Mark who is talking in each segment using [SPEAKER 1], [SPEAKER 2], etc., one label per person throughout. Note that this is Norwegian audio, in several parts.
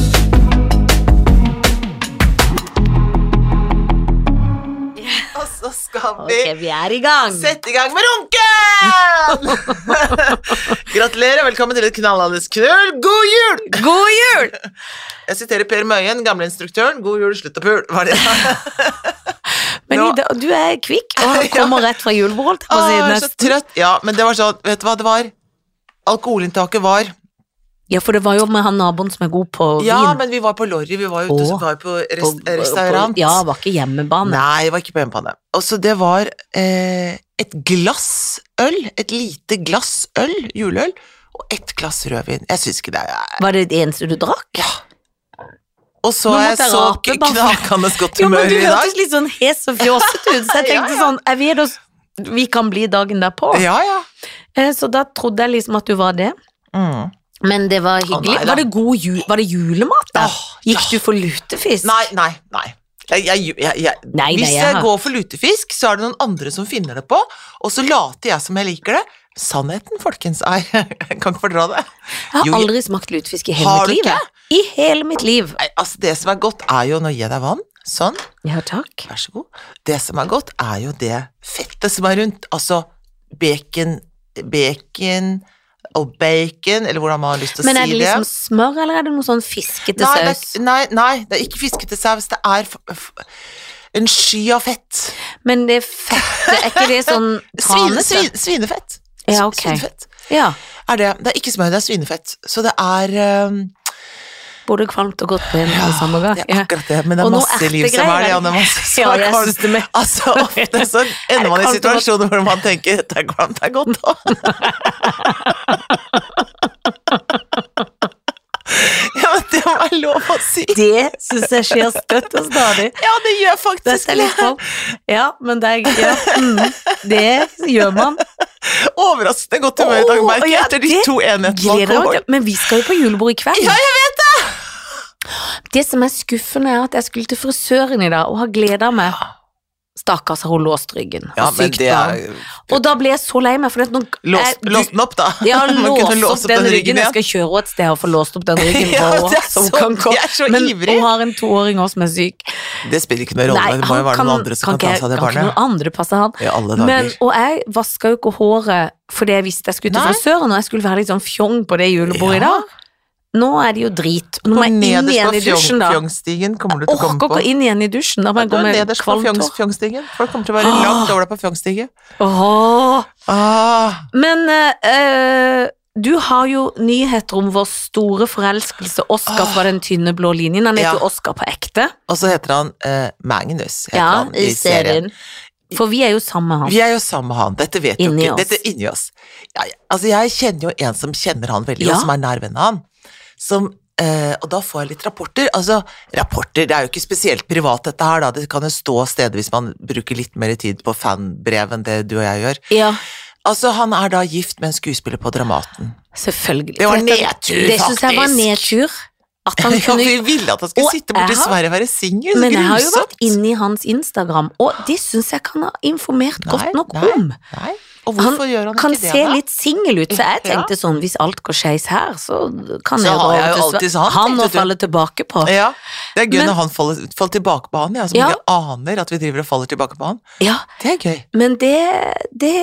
[SPEAKER 1] så skal vi
[SPEAKER 2] Ok, vi er i gang.
[SPEAKER 1] Sett i gang med runken! Gratulerer og velkommen til et knallhandes knull. God jul!
[SPEAKER 2] God jul!
[SPEAKER 1] Jeg siterer Per Møyen, gamle instruktøren. God jul, slutt å pul. Var det
[SPEAKER 2] Men
[SPEAKER 1] Nå-
[SPEAKER 2] Ida, du er kvikk og kommer rett fra julebord, holdt jeg på å si.
[SPEAKER 1] Å, jeg er så
[SPEAKER 2] nesten.
[SPEAKER 1] trøtt. Ja, men det var sånn, vet du hva det var? Alkoholinntaket var
[SPEAKER 2] Ja, for det var jo med han naboen som er god på vin.
[SPEAKER 1] Ja, men vi var på Lorry, vi var jo ute
[SPEAKER 2] Å.
[SPEAKER 1] vi var på
[SPEAKER 2] på,
[SPEAKER 1] res
[SPEAKER 2] på-
[SPEAKER 1] restaurant.
[SPEAKER 2] Ja, var ikke hjemmebane.
[SPEAKER 1] Nei, det var ikke på hjemmebane. Og så det var eh, et glass øl, et lite glass øl, juleøl, og ett glass rødvin. Jeg syns ikke det er
[SPEAKER 2] Var det det eneste du drakk?
[SPEAKER 1] Og så
[SPEAKER 2] Nå
[SPEAKER 1] er jeg
[SPEAKER 2] måtte jeg
[SPEAKER 1] så
[SPEAKER 2] rape, bare for-
[SPEAKER 1] knakende godt
[SPEAKER 2] Jo, men
[SPEAKER 1] humør
[SPEAKER 2] du
[SPEAKER 1] i dag.
[SPEAKER 2] hørtes litt sånn hes og fjåsete ut, så jeg
[SPEAKER 1] Ja,
[SPEAKER 2] tenkte
[SPEAKER 1] ja.
[SPEAKER 2] sånn, jeg vet oss, vi kan bli dagen derpå.
[SPEAKER 1] Ja, ja.
[SPEAKER 2] Eh, Så da trodde jeg liksom at du var det.
[SPEAKER 1] Mm.
[SPEAKER 2] Men det var
[SPEAKER 1] Å,
[SPEAKER 2] hyggelig.
[SPEAKER 1] nei da.
[SPEAKER 2] var, det god ju- var det julemat der?
[SPEAKER 1] Åh,
[SPEAKER 2] Gikk du for lutefisk?
[SPEAKER 1] Nei, nei, nei. Jeg, jeg, jeg, jeg.
[SPEAKER 2] Nei,
[SPEAKER 1] Hvis
[SPEAKER 2] nei, jeg
[SPEAKER 1] jeg
[SPEAKER 2] har-
[SPEAKER 1] går for lutefisk, så er det noen andre som finner det på, og så later jeg som jeg liker det. Sannheten, folkens, er Jeg kan ikke fordra det.
[SPEAKER 2] Jeg har
[SPEAKER 1] Jo, jeg-
[SPEAKER 2] aldri smakt lutefisk i hele
[SPEAKER 1] Har
[SPEAKER 2] mitt
[SPEAKER 1] du
[SPEAKER 2] liv.
[SPEAKER 1] ikke?
[SPEAKER 2] jeg. I hele mitt liv.
[SPEAKER 1] Nei, altså, det som er godt, er jo Nå gir jeg deg vann. Sånn.
[SPEAKER 2] Ja, takk.
[SPEAKER 1] Vær så god. Det som er godt, er jo det fettet som er rundt. Altså bacon, bacon og bacon, eller hvordan man har lyst til å
[SPEAKER 2] Men er
[SPEAKER 1] si det.
[SPEAKER 2] det liksom smør, eller er det noe sånn fiskete
[SPEAKER 1] nei, det
[SPEAKER 2] saus?
[SPEAKER 1] er, nei, nei, det er ikke fiskete saus. Det er f f en sky av fett.
[SPEAKER 2] Men det er fette, er ikke det sånn
[SPEAKER 1] Svine,
[SPEAKER 2] tranete?
[SPEAKER 1] svin, svinefett.
[SPEAKER 2] Ja, ok.
[SPEAKER 1] Svinefett
[SPEAKER 2] Ja,
[SPEAKER 1] er det. Det er ikke smør, det er svinefett. Så det er ehm,
[SPEAKER 2] både kvalmt og godt på en og samme gang.
[SPEAKER 1] Det er akkurat det, men det
[SPEAKER 2] Og
[SPEAKER 1] er
[SPEAKER 2] nå
[SPEAKER 1] masse liv som er
[SPEAKER 2] ertegreier
[SPEAKER 1] det,
[SPEAKER 2] er
[SPEAKER 1] og det er masse som
[SPEAKER 2] Ja,
[SPEAKER 1] er
[SPEAKER 2] jeg
[SPEAKER 1] kvalmt.
[SPEAKER 2] synes det med-
[SPEAKER 1] Altså, ofte så ender man i
[SPEAKER 2] kaldt og godt?
[SPEAKER 1] situasjoner hvor man tenker dette er kvalmt, det er godt òg. ja, men det må være lov å si.
[SPEAKER 2] Det syns jeg skjer støtt og stadig.
[SPEAKER 1] Ja, det gjør
[SPEAKER 2] Dette
[SPEAKER 1] faktisk
[SPEAKER 2] er litt
[SPEAKER 1] det.
[SPEAKER 2] kvalmt. Ja, men det er ja, mm, Det gjør man.
[SPEAKER 1] Overraskende godt humør i dag,
[SPEAKER 2] Åh,
[SPEAKER 1] merker jeg,
[SPEAKER 2] ja,
[SPEAKER 1] etter de
[SPEAKER 2] det
[SPEAKER 1] to enhetene
[SPEAKER 2] Gleder jeg meg
[SPEAKER 1] alkohol.
[SPEAKER 2] til. Men vi skal jo på julebord i kveld.
[SPEAKER 1] Ja, jeg
[SPEAKER 2] Det som er skuffende, er at jeg skulle til frisøren i dag og har gleda meg. Stakkars, har hun låst ryggen.
[SPEAKER 1] Ja,
[SPEAKER 2] og
[SPEAKER 1] men
[SPEAKER 2] sykt Eh,
[SPEAKER 1] det er
[SPEAKER 2] barn. Og da ble jeg så lei meg, for at nå
[SPEAKER 1] Lås,
[SPEAKER 2] jeg-
[SPEAKER 1] lås den opp, da.
[SPEAKER 2] Ja,
[SPEAKER 1] Man kunne
[SPEAKER 2] lås
[SPEAKER 1] låse
[SPEAKER 2] opp den ryggen. Jeg
[SPEAKER 1] igjen.
[SPEAKER 2] skal kjøre henne et sted og få låst opp den ryggen.
[SPEAKER 1] Ja,
[SPEAKER 2] for
[SPEAKER 1] det er
[SPEAKER 2] henne, så hun
[SPEAKER 1] så-
[SPEAKER 2] kan komme.
[SPEAKER 1] jeg er så
[SPEAKER 2] Men
[SPEAKER 1] ivrig.
[SPEAKER 2] hun har en toåring også som er syk.
[SPEAKER 1] Det spiller ikke noen rolle, det må jo være noen andre som kan ta seg av det
[SPEAKER 2] kan ikke
[SPEAKER 1] barnet.
[SPEAKER 2] noen andre passe han.
[SPEAKER 1] I alle
[SPEAKER 2] Men,
[SPEAKER 1] dager.
[SPEAKER 2] og jeg vaska jo ikke håret fordi jeg visste jeg skulle til
[SPEAKER 1] Nei.
[SPEAKER 2] frisøren, og jeg skulle være litt sånn fjong på det julebordet i
[SPEAKER 1] Ja.
[SPEAKER 2] dag. Nå er det jo drit. Og Nå må
[SPEAKER 1] Og
[SPEAKER 2] jeg inn
[SPEAKER 1] nederst på
[SPEAKER 2] igjen i
[SPEAKER 1] fjong,
[SPEAKER 2] dusjen, da.
[SPEAKER 1] fjongstigen kommer du til å komme
[SPEAKER 2] Orker
[SPEAKER 1] på.
[SPEAKER 2] ikke å inn igjen i dusjen. Da må jeg
[SPEAKER 1] Du
[SPEAKER 2] gå
[SPEAKER 1] er
[SPEAKER 2] med
[SPEAKER 1] nederst på
[SPEAKER 2] kvalmt
[SPEAKER 1] fjongs,
[SPEAKER 2] hår.
[SPEAKER 1] fjongstigen. Folk kommer til å være
[SPEAKER 2] Åh.
[SPEAKER 1] langt over deg på fjongstigen.
[SPEAKER 2] Åh.
[SPEAKER 1] Ah,
[SPEAKER 2] Men eh, eh, du har jo nyheter om vår store forelskelse, Oscar
[SPEAKER 1] Åh.
[SPEAKER 2] fra Den tynne blå linjen. Han heter
[SPEAKER 1] Ja.
[SPEAKER 2] jo Oscar på ekte.
[SPEAKER 1] og så heter han eh, Magnus. Heter
[SPEAKER 2] Ja,
[SPEAKER 1] han,
[SPEAKER 2] i serien. For vi er jo sammen med han.
[SPEAKER 1] Vi er jo sammen med han, dette vet
[SPEAKER 2] Inni
[SPEAKER 1] jo ikke.
[SPEAKER 2] oss.
[SPEAKER 1] Dette er inni oss. Ja, ja. altså, jeg kjenner jo en som kjenner han veldig,
[SPEAKER 2] Ja.
[SPEAKER 1] og som er nær venn av han. Som, eh, og da får jeg litt rapporter. Altså, rapporter, det er jo ikke spesielt privat dette her, da. Det kan jo stå steder hvis man bruker litt mer tid på fanbrev enn det du og jeg gjør.
[SPEAKER 2] Ja,
[SPEAKER 1] Altså, han er da gift med en skuespiller på Dramaten.
[SPEAKER 2] selvfølgelig.
[SPEAKER 1] Det var
[SPEAKER 2] For dette-
[SPEAKER 1] nedtur,
[SPEAKER 2] Det synes jeg var
[SPEAKER 1] faktisk.
[SPEAKER 2] nedtur. At han
[SPEAKER 1] Ja,
[SPEAKER 2] kunne
[SPEAKER 1] vi ville at han skulle
[SPEAKER 2] Og
[SPEAKER 1] sitte borti
[SPEAKER 2] jeg har-
[SPEAKER 1] Sverige og være singel.
[SPEAKER 2] men jeg har jo vært
[SPEAKER 1] Grusomt.
[SPEAKER 2] inne i hans Instagram, og det syns jeg kan ha informert
[SPEAKER 1] Nei,
[SPEAKER 2] godt nok
[SPEAKER 1] nei,
[SPEAKER 2] om.
[SPEAKER 1] Nei. Og hvorfor gjør han
[SPEAKER 2] Kan
[SPEAKER 1] ikke det,
[SPEAKER 2] se
[SPEAKER 1] da?
[SPEAKER 2] litt singel ut, så jeg
[SPEAKER 1] Ja.
[SPEAKER 2] tenkte sånn, hvis alt går skeis her, så kan
[SPEAKER 1] Så
[SPEAKER 2] jeg
[SPEAKER 1] har
[SPEAKER 2] dra
[SPEAKER 1] jeg jo
[SPEAKER 2] over til
[SPEAKER 1] alltid
[SPEAKER 2] Sve-
[SPEAKER 1] han,
[SPEAKER 2] han
[SPEAKER 1] tenkte
[SPEAKER 2] å
[SPEAKER 1] du.
[SPEAKER 2] falle tilbake på.
[SPEAKER 1] Ja, Det er gøy
[SPEAKER 2] Men-
[SPEAKER 1] når han faller, faller tilbake på han, jeg som
[SPEAKER 2] Ja.
[SPEAKER 1] ikke aner at vi driver og faller tilbake på han.
[SPEAKER 2] Ja,
[SPEAKER 1] Det er gøy.
[SPEAKER 2] Men det, det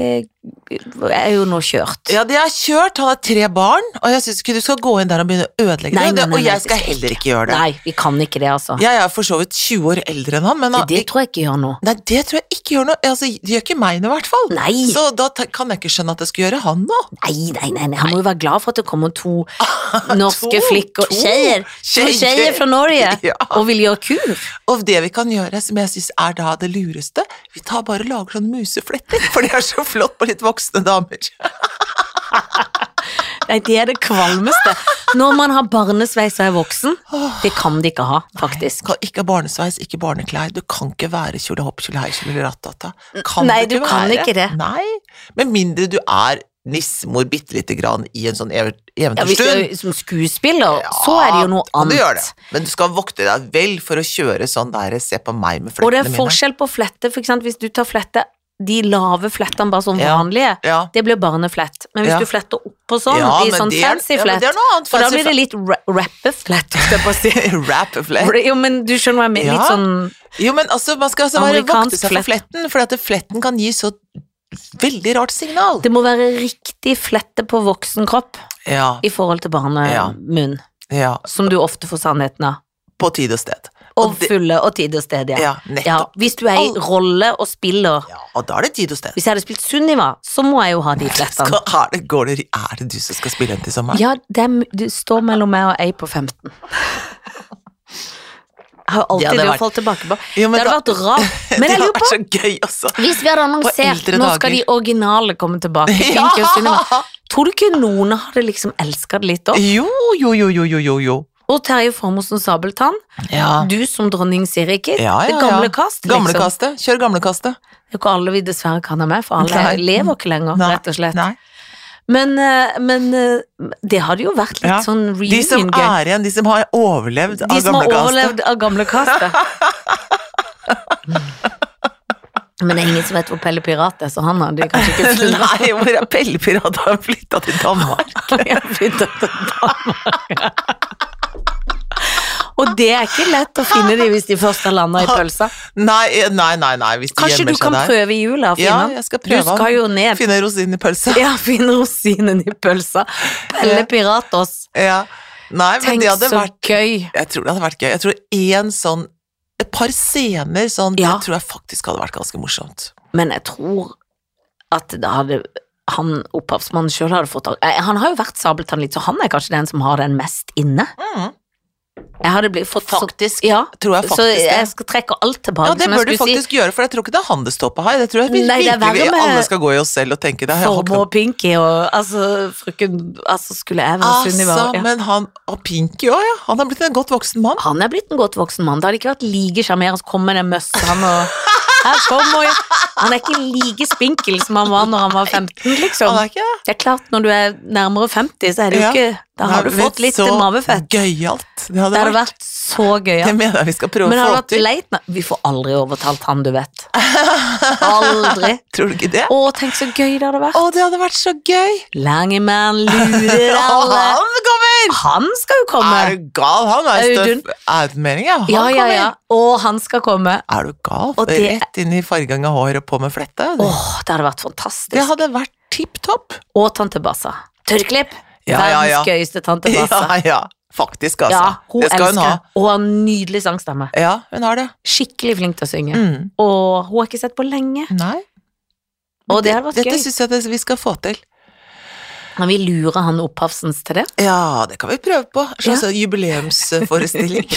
[SPEAKER 2] er jo nå kjørt.
[SPEAKER 1] Ja, det er kjørt, han har tre barn, og jeg syns ikke du skal gå inn der og begynne å ødelegge
[SPEAKER 2] Nei,
[SPEAKER 1] det, og det.
[SPEAKER 2] nei,
[SPEAKER 1] Og
[SPEAKER 2] nei, nei,
[SPEAKER 1] jeg skal
[SPEAKER 2] det skal
[SPEAKER 1] heller ikke gjøre det.
[SPEAKER 2] Nei, vi kan ikke det, altså.
[SPEAKER 1] Jeg er for så vidt 20 år eldre enn han, men
[SPEAKER 2] Det,
[SPEAKER 1] han-
[SPEAKER 2] det tror jeg ikke gjør noe.
[SPEAKER 1] Nei, det tror jeg ikke gjør noe. Altså, det gjør ikke meg noe, i hvert fall.
[SPEAKER 2] Nei,
[SPEAKER 1] Så da te- kan jeg ikke skjønne at det skulle gjøre han noe.
[SPEAKER 2] nei, nei, nei, nei. han må jo være glad for at det kommer to norske
[SPEAKER 1] To-
[SPEAKER 2] flikker
[SPEAKER 1] to
[SPEAKER 2] Tjejer! To
[SPEAKER 1] tjejer.
[SPEAKER 2] tjejer fra Norge
[SPEAKER 1] Ja.
[SPEAKER 2] og vil gjøre kur.
[SPEAKER 1] Og det vi kan gjøre, som jeg syns er da det lureste, vi tar bare og lager sånne musefletter, for det er så flott på litt voksne damer.
[SPEAKER 2] Nei, det er det kvalmeste. Når man har barnesveis og er voksen, det kan de ikke ha,
[SPEAKER 1] Du
[SPEAKER 2] faktisk.
[SPEAKER 1] kan ikke ha barnesveis, ikke barneklær, du kan ikke være kjole hopp, kjole hei, kjole ratata. Kan
[SPEAKER 2] Nei, du
[SPEAKER 1] ikke
[SPEAKER 2] kan
[SPEAKER 1] være.
[SPEAKER 2] ikke det.
[SPEAKER 1] Nei, med mindre du er nissemor bitte lite grann i en sånn ev-
[SPEAKER 2] Ja, hvis du
[SPEAKER 1] eventyrstund.
[SPEAKER 2] er som skuespiller, så er det jo noe
[SPEAKER 1] da kan du gjøre
[SPEAKER 2] annet.
[SPEAKER 1] det. Men du skal vokte deg vel for å kjøre sånn der, se på meg med
[SPEAKER 2] Og det
[SPEAKER 1] flettene
[SPEAKER 2] er
[SPEAKER 1] mine.
[SPEAKER 2] forskjell på flette, for eksempel hvis du tar flette, de lave flettene bare sånn
[SPEAKER 1] Ja.
[SPEAKER 2] vanlige,
[SPEAKER 1] Ja,
[SPEAKER 2] det blir barneflett. Men hvis
[SPEAKER 1] Ja.
[SPEAKER 2] du fletter opp og sånn,
[SPEAKER 1] ja,
[SPEAKER 2] i
[SPEAKER 1] men
[SPEAKER 2] sånn
[SPEAKER 1] det er-
[SPEAKER 2] fancy
[SPEAKER 1] ja, men
[SPEAKER 2] flett,
[SPEAKER 1] det er noe annet.
[SPEAKER 2] for da
[SPEAKER 1] fancy
[SPEAKER 2] blir det litt ra- rappeflett. holdt jeg på å si.
[SPEAKER 1] flett. Rappeflett.
[SPEAKER 2] For det- Jo, men du skjønner hva jeg mener,
[SPEAKER 1] Ja.
[SPEAKER 2] litt sånn
[SPEAKER 1] Jo, men altså, man skal altså bare
[SPEAKER 2] Amerikansk
[SPEAKER 1] vokte seg for
[SPEAKER 2] flett.
[SPEAKER 1] fletten, for at fletten kan gi så veldig rart signal.
[SPEAKER 2] Det må være riktig flette på voksen kropp
[SPEAKER 1] Ja,
[SPEAKER 2] i forhold til
[SPEAKER 1] Ja.
[SPEAKER 2] barnemunn,
[SPEAKER 1] ja.
[SPEAKER 2] som du ofte får sannheten av.
[SPEAKER 1] På tid og sted.
[SPEAKER 2] Og
[SPEAKER 1] det-
[SPEAKER 2] fulle og tid og sted, ja.
[SPEAKER 1] Ja,
[SPEAKER 2] ja.
[SPEAKER 1] nettopp.
[SPEAKER 2] Hvis du er i
[SPEAKER 1] Al-
[SPEAKER 2] rolle og spiller
[SPEAKER 1] Ja, og da er det tid og sted.
[SPEAKER 2] Hvis jeg hadde spilt Sunniva, så må jeg jo ha de flettene.
[SPEAKER 1] Skal, er, det, går det, er det du som skal spille den til sommeren?
[SPEAKER 2] Ja, det, er mu- det står mellom meg og ei på 15. Jeg har alltid
[SPEAKER 1] Ja, det
[SPEAKER 2] det
[SPEAKER 1] har
[SPEAKER 2] å
[SPEAKER 1] vært-
[SPEAKER 2] falle tilbake på.
[SPEAKER 1] Jo, men
[SPEAKER 2] det hadde
[SPEAKER 1] da-
[SPEAKER 2] vært rart. Men
[SPEAKER 1] det
[SPEAKER 2] jeg
[SPEAKER 1] har
[SPEAKER 2] lurer på
[SPEAKER 1] vært så gøy også.
[SPEAKER 2] Hvis vi hadde annonsert
[SPEAKER 1] eldre
[SPEAKER 2] nå
[SPEAKER 1] dager.
[SPEAKER 2] skal de originale komme tilbake, Finke og Sunniva, tror du ikke noen hadde liksom elska det litt òg?
[SPEAKER 1] Jo, jo, jo, jo, jo, jo, jo.
[SPEAKER 2] Og Terje Formosen Sabeltann,
[SPEAKER 1] Ja.
[SPEAKER 2] du som dronning Sirikit,
[SPEAKER 1] Ja, ja,
[SPEAKER 2] det gamle
[SPEAKER 1] ja.
[SPEAKER 2] kast. Liksom.
[SPEAKER 1] Gamlekastet. Kjør gamlekastet.
[SPEAKER 2] Det er jo ikke alle vi dessverre kan ha med, for alle
[SPEAKER 1] Nei.
[SPEAKER 2] lever ikke lenger,
[SPEAKER 1] Nei,
[SPEAKER 2] rett og slett.
[SPEAKER 1] Nei.
[SPEAKER 2] Men, eh, men eh, det hadde jo vært litt
[SPEAKER 1] Ja.
[SPEAKER 2] sånn
[SPEAKER 1] De som
[SPEAKER 2] reunion-gøy.
[SPEAKER 1] er igjen, de som har overlevd
[SPEAKER 2] De
[SPEAKER 1] av
[SPEAKER 2] som har
[SPEAKER 1] gamlekastet.
[SPEAKER 2] overlevd av gamle kastet. Men det er ingen som vet hvor Pelle Pirat er, så han hadde kanskje ikke fulgt
[SPEAKER 1] Nei, hvor er Pellepirat? Han har flytta til Danmark. Og
[SPEAKER 2] Det er ikke lett å finne de hvis de først har landa i pølsa.
[SPEAKER 1] Nei, eh, nei, nei, nei hvis de
[SPEAKER 2] Kanskje du
[SPEAKER 1] gjemmer
[SPEAKER 2] kan
[SPEAKER 1] seg der.
[SPEAKER 2] prøve i jula å finne
[SPEAKER 1] Ja,
[SPEAKER 2] han?
[SPEAKER 1] jeg skal
[SPEAKER 2] Du
[SPEAKER 1] prøve
[SPEAKER 2] skal jo ned.
[SPEAKER 1] Finne rosinen i pølsa.
[SPEAKER 2] Ja, finne rosinen i pølsa. Pelle Pirat oss.
[SPEAKER 1] Ja. Nei, men
[SPEAKER 2] Tenk
[SPEAKER 1] det hadde
[SPEAKER 2] så
[SPEAKER 1] vært
[SPEAKER 2] gøy.
[SPEAKER 1] Jeg tror det hadde vært gøy. Jeg tror én sånn Et par scener sånn
[SPEAKER 2] Ja.
[SPEAKER 1] Det tror jeg faktisk hadde vært ganske morsomt.
[SPEAKER 2] Men jeg tror at da hadde han opphavsmannen sjøl hadde fått eh, Han har jo vært Sabeltann litt, så han er kanskje den som har den mest inne. Jeg hadde blitt fått
[SPEAKER 1] Mm. Faktisk,
[SPEAKER 2] Så, ja,
[SPEAKER 1] Tror jeg
[SPEAKER 2] så
[SPEAKER 1] faktisk det.
[SPEAKER 2] jeg skal trekke alt tilbake.
[SPEAKER 1] Ja, det
[SPEAKER 2] som
[SPEAKER 1] bør du
[SPEAKER 2] jeg skulle
[SPEAKER 1] faktisk gjøre, for jeg tror ikke det er han det står på her. Det tror jeg vi,
[SPEAKER 2] Nei, det er
[SPEAKER 1] virkelig
[SPEAKER 2] verre
[SPEAKER 1] vi
[SPEAKER 2] med
[SPEAKER 1] alle skal gå i oss selv og tenke det.
[SPEAKER 2] si.
[SPEAKER 1] Jeg har ikke
[SPEAKER 2] Forme
[SPEAKER 1] noe-
[SPEAKER 2] og Pinky og altså, frøken Altså, skulle jeg være Sunniva?
[SPEAKER 1] Altså,
[SPEAKER 2] Ja.
[SPEAKER 1] men han og Pinky òg, ja. Han har blitt en godt voksen mann.
[SPEAKER 2] Han er blitt en godt voksen mann. Det hadde ikke vært like sjarmerende å komme med den møssa han og her kommer jeg. Han er ikke like spinkel som han var når han var 15, liksom.
[SPEAKER 1] Han er ikke
[SPEAKER 2] Det er klart, når du er nærmere 50, så er det jo
[SPEAKER 1] Ja.
[SPEAKER 2] ikke Da har du
[SPEAKER 1] Nei,
[SPEAKER 2] fått litt
[SPEAKER 1] så
[SPEAKER 2] mavefett.
[SPEAKER 1] Gøyalt. Det hadde
[SPEAKER 2] Det hadde
[SPEAKER 1] vært.
[SPEAKER 2] vært så
[SPEAKER 1] Det
[SPEAKER 2] gøy. Ja.
[SPEAKER 1] mener jeg vi skal prøve
[SPEAKER 2] Men
[SPEAKER 1] å
[SPEAKER 2] hadde
[SPEAKER 1] få
[SPEAKER 2] vært
[SPEAKER 1] til.
[SPEAKER 2] leit Nei, Vi får aldri overtalt han, du vet. Aldri.
[SPEAKER 1] Tror du ikke det?
[SPEAKER 2] Å, tenk så gøy det hadde vært.
[SPEAKER 1] Å, det hadde vært så gøy!
[SPEAKER 2] Langemann lurer
[SPEAKER 1] Og
[SPEAKER 2] alle.
[SPEAKER 1] han kommer!
[SPEAKER 2] Han skal jo
[SPEAKER 1] Er
[SPEAKER 2] komme.
[SPEAKER 1] du gal? Han er
[SPEAKER 2] Audun.
[SPEAKER 1] støff Audmelding, ja. Han
[SPEAKER 2] Ja, ja,
[SPEAKER 1] kommer.
[SPEAKER 2] ja. Og han skal komme.
[SPEAKER 1] Er du gal?
[SPEAKER 2] Og det-
[SPEAKER 1] Rett inn i fargen av håret på med flette.
[SPEAKER 2] Åh, det hadde vært
[SPEAKER 1] det
[SPEAKER 2] fantastisk.
[SPEAKER 1] hadde vært tipp topp.
[SPEAKER 2] Og tante Bassa. Tørrklipp.
[SPEAKER 1] Ja, ja, ja.
[SPEAKER 2] Verdens gøyeste tante Bassa.
[SPEAKER 1] Ja, ja. Faktisk, altså.
[SPEAKER 2] Ja, hun
[SPEAKER 1] det skal hun ha.
[SPEAKER 2] elsker. Og har nydelig sangstemme.
[SPEAKER 1] Ja, hun har det.
[SPEAKER 2] Skikkelig flink til å synge.
[SPEAKER 1] Mm.
[SPEAKER 2] Og hun har ikke sett på lenge.
[SPEAKER 1] Nei.
[SPEAKER 2] Og det hadde vært
[SPEAKER 1] Dette
[SPEAKER 2] gøy.
[SPEAKER 1] syns jeg det, vi skal få til.
[SPEAKER 2] Kan vi lure han opphavsens til det?
[SPEAKER 1] Ja, det kan vi prøve på. Slags jubileumsforestilling.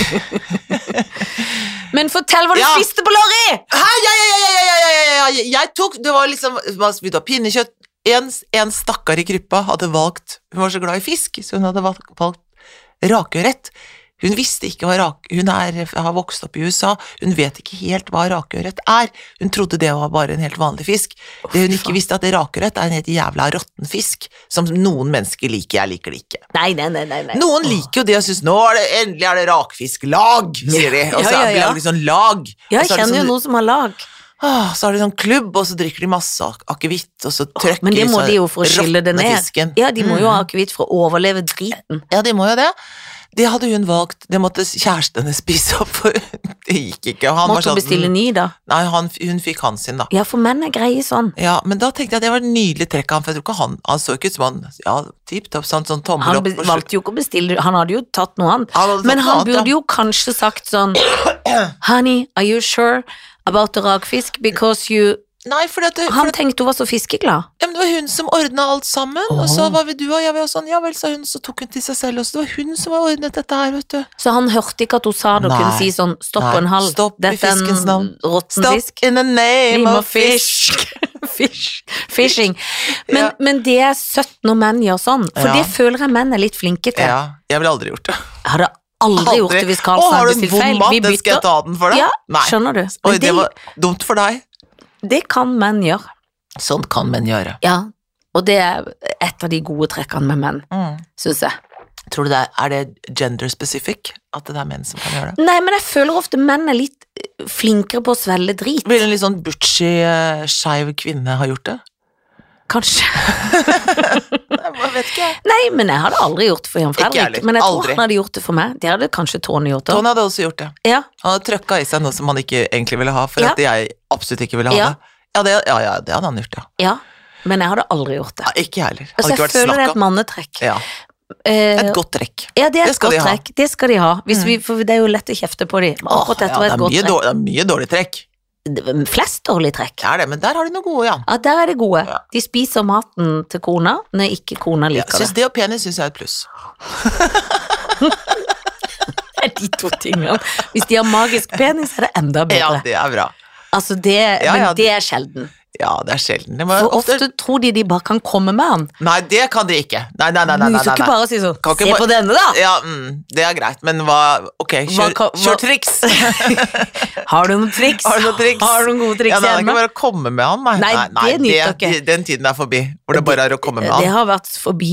[SPEAKER 2] Men fortell hva du
[SPEAKER 1] Ja.
[SPEAKER 2] spiste på Lorry!
[SPEAKER 1] Hæ, ja, ja, ja, ja, ja, ja, ja, ja, ja. Jeg tok Det var liksom man spydde av pinnekjøtt. En, en stakkar i gruppa hadde valgt Hun var så glad i fisk, så hun hadde valgt, valgt rakørret. Hun visste ikke hva rak... Hun er, har vokst opp i USA, hun vet ikke helt hva rakørret er. Hun trodde det var bare en helt vanlig fisk. Det hun ikke visste, at rakørret er en helt jævla råtten fisk, som noen mennesker liker. Jeg liker det ikke.
[SPEAKER 2] Nei, nei, nei, nei. nei.
[SPEAKER 1] Noen liker jo det og syns nå er det endelig er det rakfisklag, sier de. Og så
[SPEAKER 2] Ja, ja,
[SPEAKER 1] er det
[SPEAKER 2] ja.
[SPEAKER 1] lager de sånn lag.
[SPEAKER 2] Ja,
[SPEAKER 1] og
[SPEAKER 2] jeg
[SPEAKER 1] så er det
[SPEAKER 2] kjenner jo
[SPEAKER 1] sånn,
[SPEAKER 2] noen som har lag.
[SPEAKER 1] Åh, så har de sånn klubb, og så drikker de masse ak- akevitt, og så trøkker
[SPEAKER 2] Men det må
[SPEAKER 1] sånn
[SPEAKER 2] de jo for å skille det
[SPEAKER 1] råtne
[SPEAKER 2] ned.
[SPEAKER 1] fisken. Mm.
[SPEAKER 2] Ja, de må jo ha akevitt for å overleve driten.
[SPEAKER 1] Ja, de må jo det. Det hadde hun valgt, det måtte kjæresten hennes spise opp, for det gikk ikke. og Han
[SPEAKER 2] Måtte hun
[SPEAKER 1] var sånn,
[SPEAKER 2] bestille ny, da.
[SPEAKER 1] nei, han, hun fikk han sin, da.
[SPEAKER 2] Ja, for menn er greie sånn.
[SPEAKER 1] Ja, men da tenkte jeg at det var et nydelig trekk av han, for jeg tror ikke han Han så ikke ut som han Ja, tipp topp, sånn, sånn tommel
[SPEAKER 2] Han
[SPEAKER 1] opp.
[SPEAKER 2] be-
[SPEAKER 1] på slutt.
[SPEAKER 2] valgte jo ikke å bestille, han hadde jo tatt noe annet.
[SPEAKER 1] Altså, Han hadde tatt
[SPEAKER 2] Men
[SPEAKER 1] noe
[SPEAKER 2] han
[SPEAKER 1] annet, ja.
[SPEAKER 2] burde jo kanskje sagt sånn Honey, are you sure about the rakfisk? Because you
[SPEAKER 1] Nei, for, det, for
[SPEAKER 2] Han tenkte hun var så fiskeglad.
[SPEAKER 1] Ja, men det var hun som ordna alt sammen, og så
[SPEAKER 2] Åh.
[SPEAKER 1] var vi du og jeg, og sånn, ja vel, sa hun, så tok hun til seg selv også, det var hun som har ordnet dette her, vet du.
[SPEAKER 2] Så han hørte ikke at hun sa det og
[SPEAKER 1] Nei.
[SPEAKER 2] kunne si sånn Stopp
[SPEAKER 1] Nei,
[SPEAKER 2] og en halv.
[SPEAKER 1] stopp i
[SPEAKER 2] Dette er
[SPEAKER 1] fiskens
[SPEAKER 2] en
[SPEAKER 1] navn.
[SPEAKER 2] råtten
[SPEAKER 1] Stop
[SPEAKER 2] fisk.
[SPEAKER 1] in the name
[SPEAKER 2] Name
[SPEAKER 1] of
[SPEAKER 2] of
[SPEAKER 1] fish.
[SPEAKER 2] Fish. Fishing. Men,
[SPEAKER 1] Ja.
[SPEAKER 2] men det er søtt når menn gjør sånn, for
[SPEAKER 1] Ja.
[SPEAKER 2] det føler jeg menn er litt flinke til.
[SPEAKER 1] Ja, jeg ville aldri gjort det.
[SPEAKER 2] Jeg hadde aldri, gjort det hvis
[SPEAKER 1] Å,
[SPEAKER 2] Karlsen
[SPEAKER 1] har
[SPEAKER 2] hadde
[SPEAKER 1] du en
[SPEAKER 2] bestilt
[SPEAKER 1] vond
[SPEAKER 2] feil.
[SPEAKER 1] mat,
[SPEAKER 2] Vi
[SPEAKER 1] den skal jeg
[SPEAKER 2] bytter.
[SPEAKER 1] ta den for deg?
[SPEAKER 2] Ja,
[SPEAKER 1] Nei.
[SPEAKER 2] skjønner du.
[SPEAKER 1] Oi,
[SPEAKER 2] Men
[SPEAKER 1] det
[SPEAKER 2] det,
[SPEAKER 1] var dumt for deg.
[SPEAKER 2] det kan menn gjøre.
[SPEAKER 1] Sånt Sånn kan menn gjøre.
[SPEAKER 2] Ja. Og det er et av de gode trekkene med menn,
[SPEAKER 1] Mm.
[SPEAKER 2] syns jeg.
[SPEAKER 1] Tror du det er, er det gender specific, at det er menn som kan gjøre det?
[SPEAKER 2] Nei, men jeg føler ofte menn er litt eh, flinkere på å svelge drit.
[SPEAKER 1] Vil en litt sånn butchy, eh, skeiv kvinne ha gjort det?
[SPEAKER 2] Kanskje.
[SPEAKER 1] Jeg bare vet ikke. jeg.
[SPEAKER 2] Nei, men jeg hadde aldri gjort det for Jan
[SPEAKER 1] Ikke jeg heller.
[SPEAKER 2] Fredrik. Men jeg tror
[SPEAKER 1] Aldri.
[SPEAKER 2] han hadde gjort det for meg. Det hadde kanskje Tony gjort òg.
[SPEAKER 1] Tony hadde også gjort det.
[SPEAKER 2] Ja.
[SPEAKER 1] Han hadde trøkka i seg noe som han ikke egentlig ville ha, for
[SPEAKER 2] Ja.
[SPEAKER 1] at jeg absolutt ikke ville ha
[SPEAKER 2] Ja.
[SPEAKER 1] det. Ja, det, ja, ja, det hadde han gjort, ja.
[SPEAKER 2] ja. Men jeg hadde aldri gjort det.
[SPEAKER 1] ja ikke jeg heller.
[SPEAKER 2] Altså,
[SPEAKER 1] Hadde ikke
[SPEAKER 2] jeg
[SPEAKER 1] vært
[SPEAKER 2] føler det er
[SPEAKER 1] snakk
[SPEAKER 2] et
[SPEAKER 1] om.
[SPEAKER 2] mannetrekk.
[SPEAKER 1] Ja,
[SPEAKER 2] Eh,
[SPEAKER 1] et godt trekk.
[SPEAKER 2] ja, det er
[SPEAKER 1] det
[SPEAKER 2] et
[SPEAKER 1] skal de
[SPEAKER 2] godt
[SPEAKER 1] ha. Mm.
[SPEAKER 2] trekk. Det skal de ha. Hvis vi, for det er jo lett å kjefte på de.
[SPEAKER 1] Åh,
[SPEAKER 2] Akkurat dette
[SPEAKER 1] ja,
[SPEAKER 2] var
[SPEAKER 1] det,
[SPEAKER 2] et
[SPEAKER 1] er
[SPEAKER 2] godt
[SPEAKER 1] mye
[SPEAKER 2] trekk.
[SPEAKER 1] dårlig, det er mye dårlig trekk.
[SPEAKER 2] Det- Flest dårlige trekk.
[SPEAKER 1] Det er det, men der har de noe gode, ja.
[SPEAKER 2] Ja, der er det gode.
[SPEAKER 1] Ja.
[SPEAKER 2] De spiser maten til kona når ikke kona
[SPEAKER 1] ja
[SPEAKER 2] liker
[SPEAKER 1] synes det og penis syns jeg er et pluss.
[SPEAKER 2] det. De to tingene. Hvis de har magisk penis, er det
[SPEAKER 1] Ja,
[SPEAKER 2] enda bedre.
[SPEAKER 1] det er bra.
[SPEAKER 2] Altså det,
[SPEAKER 1] Ja, ja,
[SPEAKER 2] men det er sjelden.
[SPEAKER 1] Ja, det er sjelden. Det må
[SPEAKER 2] For
[SPEAKER 1] ofte...
[SPEAKER 2] ofte tror de de bare kan komme med han.
[SPEAKER 1] Nei, det kan de ikke. Nei, nei, nei. nei,
[SPEAKER 2] Du
[SPEAKER 1] nei,
[SPEAKER 2] skal
[SPEAKER 1] nei,
[SPEAKER 2] ikke bare si sånn
[SPEAKER 1] Kan ikke
[SPEAKER 2] Se
[SPEAKER 1] bare-
[SPEAKER 2] på denne, da!
[SPEAKER 1] Ja, mm, det er greit, men hva Ok, kjør,
[SPEAKER 2] Hva kan- hva-
[SPEAKER 1] kjør triks!
[SPEAKER 2] Har du noen triks?
[SPEAKER 1] Har du noen triks?
[SPEAKER 2] Har du noen gode triks
[SPEAKER 1] Ja, nei, det er ikke
[SPEAKER 2] hjemme?
[SPEAKER 1] bare å komme med han, nei.
[SPEAKER 2] Nei, det nytter ikke.
[SPEAKER 1] de- Den tiden er forbi, hvor det bare er å komme med
[SPEAKER 2] Eh, Det
[SPEAKER 1] han.
[SPEAKER 2] har vært forbi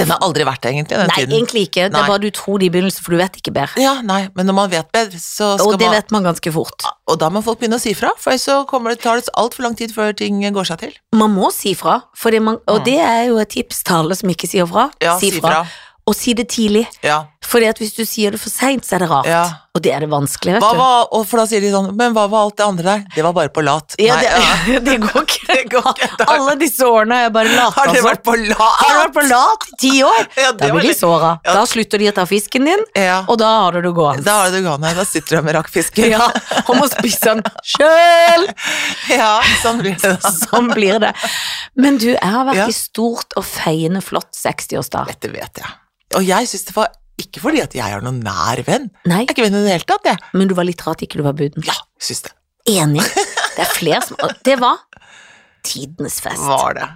[SPEAKER 1] Den har aldri vært det, egentlig, den
[SPEAKER 2] Nei,
[SPEAKER 1] tiden.
[SPEAKER 2] egentlig ikke. Det
[SPEAKER 1] Nei.
[SPEAKER 2] er bare du tror det i begynnelsen, for du vet ikke bedre.
[SPEAKER 1] Ja, nei, men når man vet bedre, så
[SPEAKER 2] Og
[SPEAKER 1] skal
[SPEAKER 2] det
[SPEAKER 1] man
[SPEAKER 2] vet man ganske fort.
[SPEAKER 1] Og da må folk begynne å si fra, for ellers så kommer det, tar det altfor lang tid før ting går seg til.
[SPEAKER 2] Man må si fra, fordi man, og
[SPEAKER 1] Mm.
[SPEAKER 2] det er jo et tips til alle som ikke sier fra.
[SPEAKER 1] Ja, si fra.
[SPEAKER 2] Og si det tidlig.
[SPEAKER 1] Ja.
[SPEAKER 2] Fordi at hvis du sier det for seint, så er det rart.
[SPEAKER 1] Ja.
[SPEAKER 2] Og det er det vanskelige,
[SPEAKER 1] Hva
[SPEAKER 2] vet du.
[SPEAKER 1] var, og for da sier de sånn Men hva var alt det andre der? Det var bare på lat.
[SPEAKER 2] Ja,
[SPEAKER 1] Nei,
[SPEAKER 2] det,
[SPEAKER 1] ja.
[SPEAKER 2] det går ikke.
[SPEAKER 1] Det går ikke, da.
[SPEAKER 2] Alle disse årene har jeg bare lata
[SPEAKER 1] Altså, Har det
[SPEAKER 2] som.
[SPEAKER 1] vært på lat?
[SPEAKER 2] Har du vært på lat i ti år?
[SPEAKER 1] Ja, det
[SPEAKER 2] Da
[SPEAKER 1] var
[SPEAKER 2] blir de
[SPEAKER 1] litt-
[SPEAKER 2] såra.
[SPEAKER 1] Ja.
[SPEAKER 2] Da slutter de å ta fisken din,
[SPEAKER 1] Ja.
[SPEAKER 2] og da har du det gående.
[SPEAKER 1] Da har du gående. Da sitter du med rakkfisker.
[SPEAKER 2] Ja, og må spise den sjøl!
[SPEAKER 1] Ja, sånn blir det da.
[SPEAKER 2] Sånn blir det. Men du, jeg har vært
[SPEAKER 1] Ja.
[SPEAKER 2] i stort og feiende flott 60-årsdag.
[SPEAKER 1] Dette vet jeg. Og jeg syns det var ikke fordi at jeg er noen nær venn.
[SPEAKER 2] Nei,
[SPEAKER 1] Jeg er ikke venn i det hele tatt, jeg.
[SPEAKER 2] men du var litt rart ikke du var buden.
[SPEAKER 1] Ja, syns det.
[SPEAKER 2] Enig. Det er flere som og Det var tidenes fest.
[SPEAKER 1] Var det.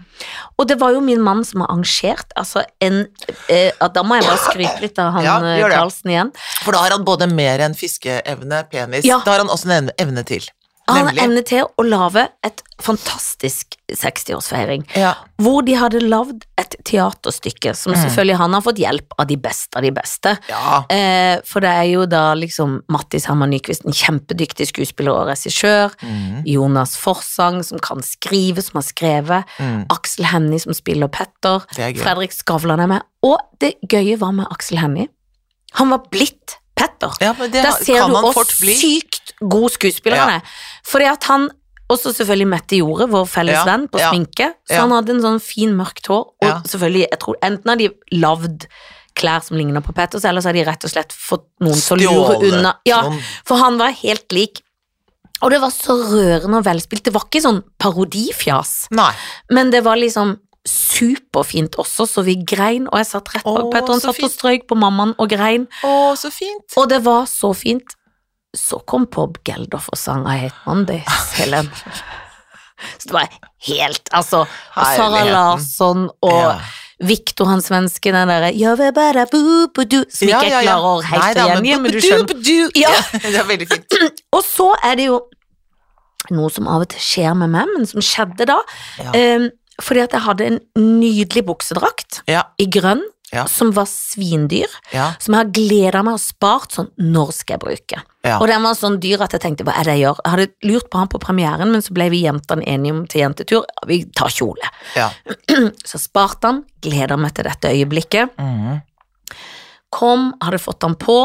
[SPEAKER 2] Og det var jo min mann som har arrangert, altså en eh, at Da må jeg bare skryte litt av han
[SPEAKER 1] Ja,
[SPEAKER 2] eh,
[SPEAKER 1] gjør det.
[SPEAKER 2] Karlsen igjen.
[SPEAKER 1] For da har han både mer enn fiskeevne, penis
[SPEAKER 2] Ja.
[SPEAKER 1] Da har han også en evne- evne til.
[SPEAKER 2] Han har
[SPEAKER 1] Nemlig.
[SPEAKER 2] evne til å lage et fantastisk 60-årsfeiring.
[SPEAKER 1] Ja.
[SPEAKER 2] Hvor de hadde lagd et teaterstykke, som
[SPEAKER 1] Mm.
[SPEAKER 2] selvfølgelig han har fått hjelp av de beste av de beste.
[SPEAKER 1] ja.
[SPEAKER 2] Eh, for det er jo da liksom Mattis Hammer Nyquist, en kjempedyktig skuespiller og regissør.
[SPEAKER 1] Mm.
[SPEAKER 2] Jonas Forsang, som kan skrive, som har skrevet.
[SPEAKER 1] Mm.
[SPEAKER 2] Aksel Hennie, som spiller Petter.
[SPEAKER 1] Det er gøy.
[SPEAKER 2] Fredrik Skavlan er med. Og det gøye var med Aksel Hennie. Han var blitt Petter.
[SPEAKER 1] Ja, men det
[SPEAKER 2] Der
[SPEAKER 1] har-
[SPEAKER 2] ser
[SPEAKER 1] kan
[SPEAKER 2] du
[SPEAKER 1] man
[SPEAKER 2] hvor
[SPEAKER 1] fort bli.
[SPEAKER 2] sykt god skuespiller
[SPEAKER 1] Ja.
[SPEAKER 2] han er. Fordi at han også selvfølgelig Mette Jorde, vår felles
[SPEAKER 1] Ja,
[SPEAKER 2] venn, på
[SPEAKER 1] ja,
[SPEAKER 2] sminke. Så
[SPEAKER 1] ja.
[SPEAKER 2] han hadde en sånn fin, mørkt hår, og
[SPEAKER 1] Ja.
[SPEAKER 2] selvfølgelig, jeg tror enten har de lagd klær som ligner på Petters, eller så har de rett og slett fått noen til å lure
[SPEAKER 1] Stjålet sånn.
[SPEAKER 2] unna. Ja,
[SPEAKER 1] noen.
[SPEAKER 2] for han var helt lik. Og det var så rørende og velspilt. Det var ikke sånn parodifjas,
[SPEAKER 1] Nei.
[SPEAKER 2] men det var liksom superfint også, så vi grein, og jeg satt rett bak
[SPEAKER 1] Å,
[SPEAKER 2] Petter, han
[SPEAKER 1] så
[SPEAKER 2] satt og
[SPEAKER 1] fint.
[SPEAKER 2] strøyk på mammaen og grein.
[SPEAKER 1] Å, så fint.
[SPEAKER 2] Og det var så fint. Så kom Bob Geldof og sang I Hate Mondays, Helen. Så det var helt, altså. Og Sara
[SPEAKER 1] Herligheten.
[SPEAKER 2] Larsson og
[SPEAKER 1] Ja.
[SPEAKER 2] Victor, han svenske, den derre «Ja, vi bare bu, bu, du», Som ikke jeg klarer å
[SPEAKER 1] Nei
[SPEAKER 2] helt
[SPEAKER 1] da,
[SPEAKER 2] å gjengi, men du skjønner.
[SPEAKER 1] du-
[SPEAKER 2] Ja.
[SPEAKER 1] det er veldig fint.
[SPEAKER 2] Og så er det jo noe som av og til skjer med meg, men som skjedde da.
[SPEAKER 1] Ja.
[SPEAKER 2] Ehm, fordi at jeg hadde en nydelig buksedrakt
[SPEAKER 1] Ja,
[SPEAKER 2] i grønn,
[SPEAKER 1] Ja.
[SPEAKER 2] som var svindyr.
[SPEAKER 1] ja,
[SPEAKER 2] som jeg har gleda meg og spart sånn, når skal jeg bruke?
[SPEAKER 1] Ja.
[SPEAKER 2] Og den var sånn dyr at jeg tenkte, hva er det jeg gjør? Jeg hadde lurt på han på premieren, men så ble vi jentene enige om til jentetur, vi tar kjole.
[SPEAKER 1] ja.
[SPEAKER 2] Så sparte han, gleder meg til dette øyeblikket.
[SPEAKER 1] Mhm.
[SPEAKER 2] Kom, hadde fått han på,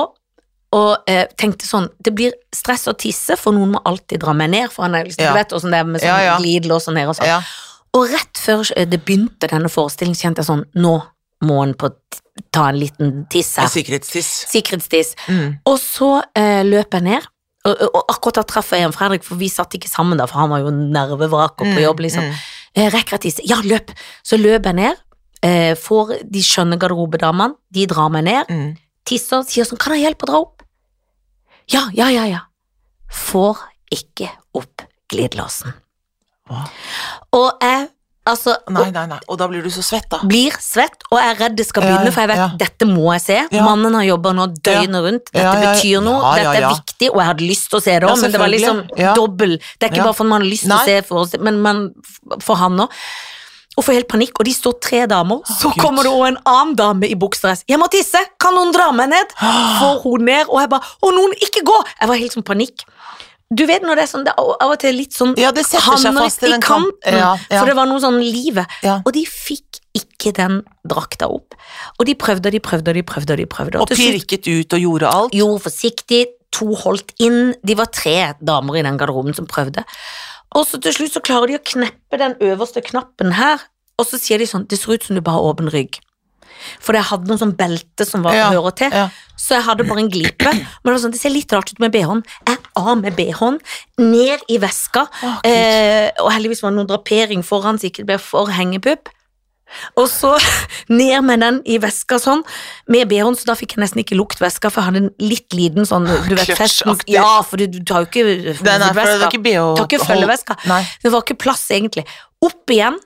[SPEAKER 2] og eh, tenkte sånn, det blir stress å tisse, for noen må alltid dra meg ned, for han er liksom,
[SPEAKER 1] Ja.
[SPEAKER 2] du vet hvordan det er med sånn
[SPEAKER 1] Ja, ja.
[SPEAKER 2] glidelås og ned og sånn.
[SPEAKER 1] ja.
[SPEAKER 2] Og rett før eh, det begynte denne forestillingen, kjente jeg sånn, nå må han på ta en liten tiss
[SPEAKER 1] En
[SPEAKER 2] her.
[SPEAKER 1] sikkerhetstiss.
[SPEAKER 2] Sikkerhetstiss.
[SPEAKER 1] Mm.
[SPEAKER 2] Og så eh, løp jeg ned, og, og- og akkurat da traff jeg Jan Fredrik, for vi satt ikke sammen da, for han var jo nervevrak og på jobb, liksom.
[SPEAKER 1] Mm.
[SPEAKER 2] Eh, rekker jeg tisse? Ja, løp! Så løp jeg ned, eh, får de skjønne garderobedamene, de drar meg ned,
[SPEAKER 1] Mm.
[SPEAKER 2] tisser, sier sånn, kan jeg hjelpe å dra opp? Ja, ja, ja, ja. Får ikke opp glidelåsen.
[SPEAKER 1] Hva?
[SPEAKER 2] Og jeg, altså,
[SPEAKER 1] Nei, nei, nei. Og da blir du så svett, da.
[SPEAKER 2] blir svett, og jeg er redd det skal
[SPEAKER 1] Ja,
[SPEAKER 2] begynne, for jeg vet
[SPEAKER 1] ja.
[SPEAKER 2] dette må jeg se.
[SPEAKER 1] Ja.
[SPEAKER 2] Mannen har jobba nå døgnet rundt, dette
[SPEAKER 1] Ja, ja, ja.
[SPEAKER 2] betyr noe,
[SPEAKER 1] Ja, ja,
[SPEAKER 2] dette er
[SPEAKER 1] ja.
[SPEAKER 2] viktig, og jeg hadde lyst til å se det
[SPEAKER 1] Ja,
[SPEAKER 2] òg, men det var liksom
[SPEAKER 1] selvfølgelig. Ja.
[SPEAKER 2] dobbel Det er
[SPEAKER 1] Ja.
[SPEAKER 2] ikke bare for man har lyst til
[SPEAKER 1] Nei.
[SPEAKER 2] å se for oss, men man, for han òg. Og får helt panikk, og de står tre damer, så
[SPEAKER 1] Gud.
[SPEAKER 2] kommer det òg en annen dame i buksedress. 'Jeg må tisse! Kan noen dra meg ned?' Får hun ned, og jeg bare 'Å, noen, ikke gå!' Jeg var helt sånn panikk. Du vet når det er sånn, det er av av og til litt sånn
[SPEAKER 1] Ja, det setter seg
[SPEAKER 2] Hammer
[SPEAKER 1] fast i
[SPEAKER 2] i
[SPEAKER 1] den kanten.
[SPEAKER 2] kanten,
[SPEAKER 1] Ja, ja.
[SPEAKER 2] For det var noe sånn livet.
[SPEAKER 1] Ja.
[SPEAKER 2] Og de fikk ikke den drakta opp. Og de prøvde og de prøvde og de prøvde. Og de prøvde.
[SPEAKER 1] Og
[SPEAKER 2] til slutt-
[SPEAKER 1] pirket ut og gjorde alt.
[SPEAKER 2] Jo, forsiktig. To holdt inn. De var tre damer i den garderoben som prøvde. Og så til slutt så klarer de å kneppe den øverste knappen her, og så sier de sånn Det ser ut som du bare har åpen rygg. For jeg hadde noen sånn belte som var
[SPEAKER 1] Ja,
[SPEAKER 2] hører til,
[SPEAKER 1] ja.
[SPEAKER 2] så jeg hadde bare en glipe. Men det var sånn, det ser litt rart ut med bh-en. Jeg av med bh-en, ned i veska,
[SPEAKER 1] Å, Gud.
[SPEAKER 2] eh, og heldigvis var det noen drapering foran så ikke det ble for hengepupp. Og så ned med den i veska sånn, med bh-en, så da fikk jeg nesten ikke lukt veska, for jeg hadde en litt liten sånn, du vet, festen.
[SPEAKER 1] Clutch-aktig.
[SPEAKER 2] Ja, for du, du tar jo
[SPEAKER 1] Den er
[SPEAKER 2] ikke
[SPEAKER 1] for det
[SPEAKER 2] hovedveska.
[SPEAKER 1] var ikke BH.
[SPEAKER 2] Du tar ikke følgeveska.
[SPEAKER 1] Nei.
[SPEAKER 2] Det var ikke plass, egentlig. Opp igjen.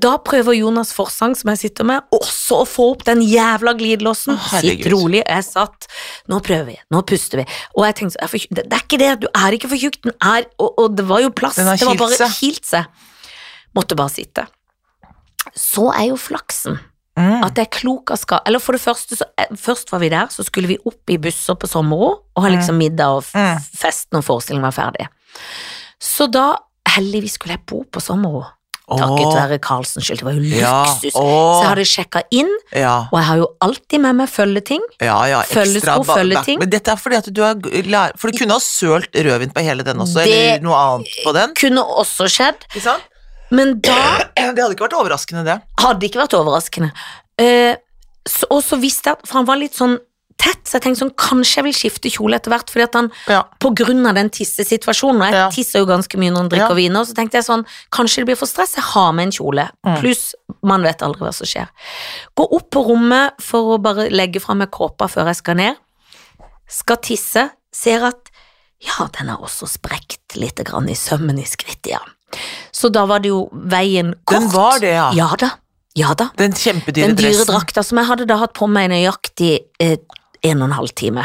[SPEAKER 2] Da prøver Jonas Forsang, som jeg sitter med, også å få opp den jævla glidelåsen.
[SPEAKER 1] Å, herregud.
[SPEAKER 2] Sitt rolig, jeg satt. Nå prøver vi, nå puster vi. Og jeg tenkte, så, jeg er for tjukk. det det er ikke det, du er ikke for tjukk, den er Og, og det var jo plass,
[SPEAKER 1] Den har
[SPEAKER 2] det var
[SPEAKER 1] kilt
[SPEAKER 2] bare
[SPEAKER 1] seg.
[SPEAKER 2] kilt seg. Måtte bare sitte. Så er jo flaksen
[SPEAKER 1] Mm.
[SPEAKER 2] at det er klok av skade Eller for det første, så, eh, først var vi der, så skulle vi opp i busser på sommero og ha liksom middag og f-
[SPEAKER 1] Mm.
[SPEAKER 2] fest når forestillingen var ferdig. Så da, heldigvis skulle jeg bo på sommero, takket
[SPEAKER 1] Åh,
[SPEAKER 2] være Karlsens skyld. Det var jo
[SPEAKER 1] Ja.
[SPEAKER 2] luksus.
[SPEAKER 1] Åh.
[SPEAKER 2] Så jeg hadde sjekka inn,
[SPEAKER 1] ja.
[SPEAKER 2] og jeg har jo alltid med meg følgeting.
[SPEAKER 1] Ja, ja,
[SPEAKER 2] Følgesko,
[SPEAKER 1] ba-
[SPEAKER 2] følgeting.
[SPEAKER 1] back- Men dette er fordi at du har g- lær... For du kunne ha sølt rødvin på hele den også,
[SPEAKER 2] Det-
[SPEAKER 1] eller noe annet på den.
[SPEAKER 2] Kunne også skjedd,
[SPEAKER 1] Ikke sant?
[SPEAKER 2] men da
[SPEAKER 1] Det hadde ikke vært overraskende, det.
[SPEAKER 2] hadde ikke vært overraskende. Eh, så, og så visste jeg at For han var litt sånn tett, så jeg tenkte sånn, kanskje jeg vil skifte kjole etter hvert, fordi at han
[SPEAKER 1] Ja.
[SPEAKER 2] på grunn av den tissesituasjonen, og jeg
[SPEAKER 1] Ja.
[SPEAKER 2] tisser jo ganske mye når en
[SPEAKER 1] Ja.
[SPEAKER 2] drikker vin, og så tenkte jeg sånn, kanskje det blir for stress, jeg har med en kjole,
[SPEAKER 1] Mm.
[SPEAKER 2] pluss man vet aldri hva som skjer. Gå opp på rommet for å bare legge fra meg kåpa før jeg skal ned, skal tisse, ser at ja, den er også sprekt litt grann i sømmen i skrittet, ja. Så da var det jo veien kort.
[SPEAKER 1] Den var det, ja.
[SPEAKER 2] Ja da, ja da.
[SPEAKER 1] Den kjempedyre
[SPEAKER 2] Den dyre
[SPEAKER 1] dressen.
[SPEAKER 2] drakta som jeg hadde da hatt på meg i nøyaktig eh, en og en halv time.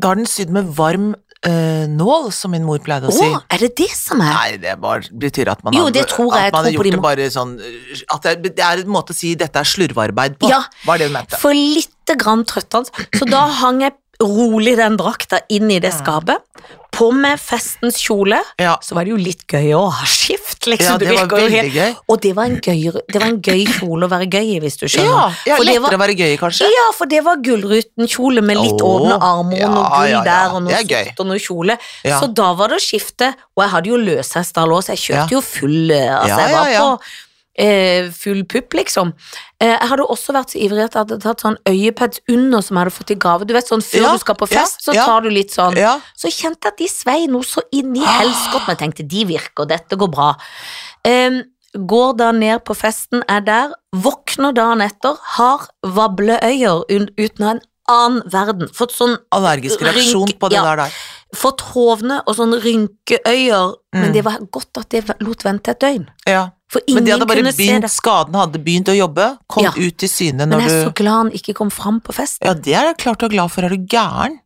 [SPEAKER 1] Da har den sydd med varm eh, nål, som min mor pleide å
[SPEAKER 2] Å,
[SPEAKER 1] si.
[SPEAKER 2] er det det som er?
[SPEAKER 1] Nei, det bare betyr at man
[SPEAKER 2] Jo,
[SPEAKER 1] har-
[SPEAKER 2] det tror jeg. Jeg
[SPEAKER 1] at man har
[SPEAKER 2] tror på
[SPEAKER 1] gjort
[SPEAKER 2] de
[SPEAKER 1] det
[SPEAKER 2] må-
[SPEAKER 1] bare sånn eh, At det, det er en måte å si 'dette er slurvearbeid' på,
[SPEAKER 2] Ja,
[SPEAKER 1] var det hun mente.
[SPEAKER 2] For lite grann trøttende. Så da hang jeg rolig den drakta inn i det skapet. På med festens kjole.
[SPEAKER 1] Ja.
[SPEAKER 2] Så var det jo litt gøy å ha skift, liksom.
[SPEAKER 1] Ja,
[SPEAKER 2] Du
[SPEAKER 1] det var
[SPEAKER 2] virker jo helt-
[SPEAKER 1] veldig gøy.
[SPEAKER 2] Og det var, en gøy, det var en gøy kjole å være gøy i, hvis du
[SPEAKER 1] Ja,
[SPEAKER 2] skjønner.
[SPEAKER 1] ja
[SPEAKER 2] For det
[SPEAKER 1] lettere
[SPEAKER 2] var,
[SPEAKER 1] å være gøy, kanskje.
[SPEAKER 2] ja, for det var Gullruten-kjole med litt
[SPEAKER 1] Åh,
[SPEAKER 2] åpne armer og noe
[SPEAKER 1] ja,
[SPEAKER 2] gull
[SPEAKER 1] ja, ja.
[SPEAKER 2] der og noe
[SPEAKER 1] Det er gøy.
[SPEAKER 2] sort og noe kjole.
[SPEAKER 1] Ja.
[SPEAKER 2] Så da var det å skifte, og jeg hadde jo løshestalås, jeg kjørte
[SPEAKER 1] Ja.
[SPEAKER 2] jo full eh, Altså,
[SPEAKER 1] Ja,
[SPEAKER 2] jeg var
[SPEAKER 1] ja, ja.
[SPEAKER 2] på eh, full pupp, liksom. Eh, jeg hadde også vært så ivrig at jeg hadde tatt sånn øyepads under som jeg hadde fått i gave. Du vet sånn før
[SPEAKER 1] Ja,
[SPEAKER 2] du skal på
[SPEAKER 1] ja,
[SPEAKER 2] fest, så
[SPEAKER 1] ja.
[SPEAKER 2] tar du litt sånn.
[SPEAKER 1] Ja. Ah.
[SPEAKER 2] Så kjente jeg at de svei noe så inn i helskotten. Jeg tenkte de virker, dette går bra. Em, går da ned på festen, er der, våkner dagen etter, har vableøyer un- uten å ha en annen verden. Fått sånn
[SPEAKER 1] Allergisk reaksjon
[SPEAKER 2] Rynk-
[SPEAKER 1] på det
[SPEAKER 2] ja.
[SPEAKER 1] der der.
[SPEAKER 2] fått hovne og sånn rynkeøyer, men det var godt at det lot vente et døgn.
[SPEAKER 1] Ja.
[SPEAKER 2] For
[SPEAKER 1] Mm. Men
[SPEAKER 2] ingen
[SPEAKER 1] de hadde bare
[SPEAKER 2] kunne se
[SPEAKER 1] begynt,
[SPEAKER 2] det.
[SPEAKER 1] skaden hadde begynt å jobbe, kom
[SPEAKER 2] Ja.
[SPEAKER 1] ut til syne
[SPEAKER 2] Men
[SPEAKER 1] når
[SPEAKER 2] jeg
[SPEAKER 1] du
[SPEAKER 2] er så glad han ikke kom fram på festen.
[SPEAKER 1] Ja, det er jeg klart og glad for, er du gæren?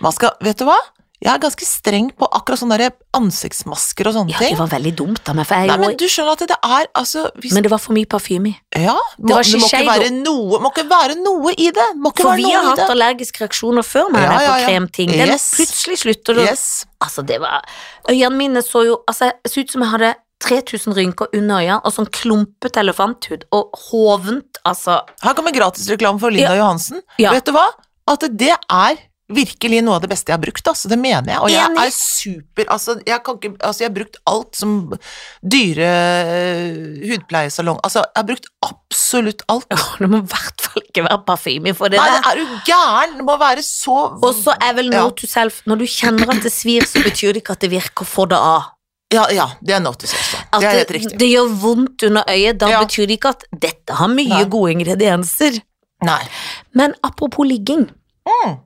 [SPEAKER 1] Man skal, vet du hva? Jeg er ganske streng på akkurat sånne der ansiktsmasker og sånne
[SPEAKER 2] Ja, det
[SPEAKER 1] ting.
[SPEAKER 2] var veldig dumt av meg, for jeg
[SPEAKER 1] Nei,
[SPEAKER 2] er
[SPEAKER 1] men
[SPEAKER 2] jo
[SPEAKER 1] du skjønner at det er altså hvis,
[SPEAKER 2] Men det var for mye parfyme i.
[SPEAKER 1] Ja, må,
[SPEAKER 2] var
[SPEAKER 1] det må ikke
[SPEAKER 2] Shiseido.
[SPEAKER 1] være noe Må ikke være noe i det! Må ikke
[SPEAKER 2] For
[SPEAKER 1] være
[SPEAKER 2] vi har
[SPEAKER 1] noe i
[SPEAKER 2] hatt
[SPEAKER 1] det.
[SPEAKER 2] allergiske reaksjoner før med
[SPEAKER 1] Ja,
[SPEAKER 2] det på
[SPEAKER 1] ja, ja.
[SPEAKER 2] kremting. Det er
[SPEAKER 1] Yes.
[SPEAKER 2] når plutselig slutter det.
[SPEAKER 1] Yes.
[SPEAKER 2] Altså, det var Øynene mine så jo Altså, jeg så ut som jeg hadde 3000 rynker under øynene, og sånn klumpete elefanthud, og hovent, altså
[SPEAKER 1] Her kommer gratisreklame for Linda Johansen.
[SPEAKER 2] Ja.
[SPEAKER 1] Vet du hva? At det er virkelig noe av det beste jeg har brukt, altså. Det mener jeg. Og jeg
[SPEAKER 2] Enig.
[SPEAKER 1] er super Altså, jeg kan ikke Altså, jeg har brukt alt som dyre øh, hudpleiesalong Altså, jeg har brukt absolutt alt.
[SPEAKER 2] Det må i hvert fall ikke være parfyme for det
[SPEAKER 1] Nei,
[SPEAKER 2] der.
[SPEAKER 1] er du gæren? Det må være så
[SPEAKER 2] Og så er vel
[SPEAKER 1] Ja.
[SPEAKER 2] note to self Når du kjenner at det svir, så betyr det ikke at det virker. Få det av.
[SPEAKER 1] Ja, ja, det er notis også.
[SPEAKER 2] At
[SPEAKER 1] Det er helt riktig.
[SPEAKER 2] det gjør vondt under øyet, da
[SPEAKER 1] Ja.
[SPEAKER 2] betyr det ikke at dette har mye
[SPEAKER 1] Nei.
[SPEAKER 2] gode ingredienser.
[SPEAKER 1] Nei.
[SPEAKER 2] Men apropos ligging
[SPEAKER 1] Mm.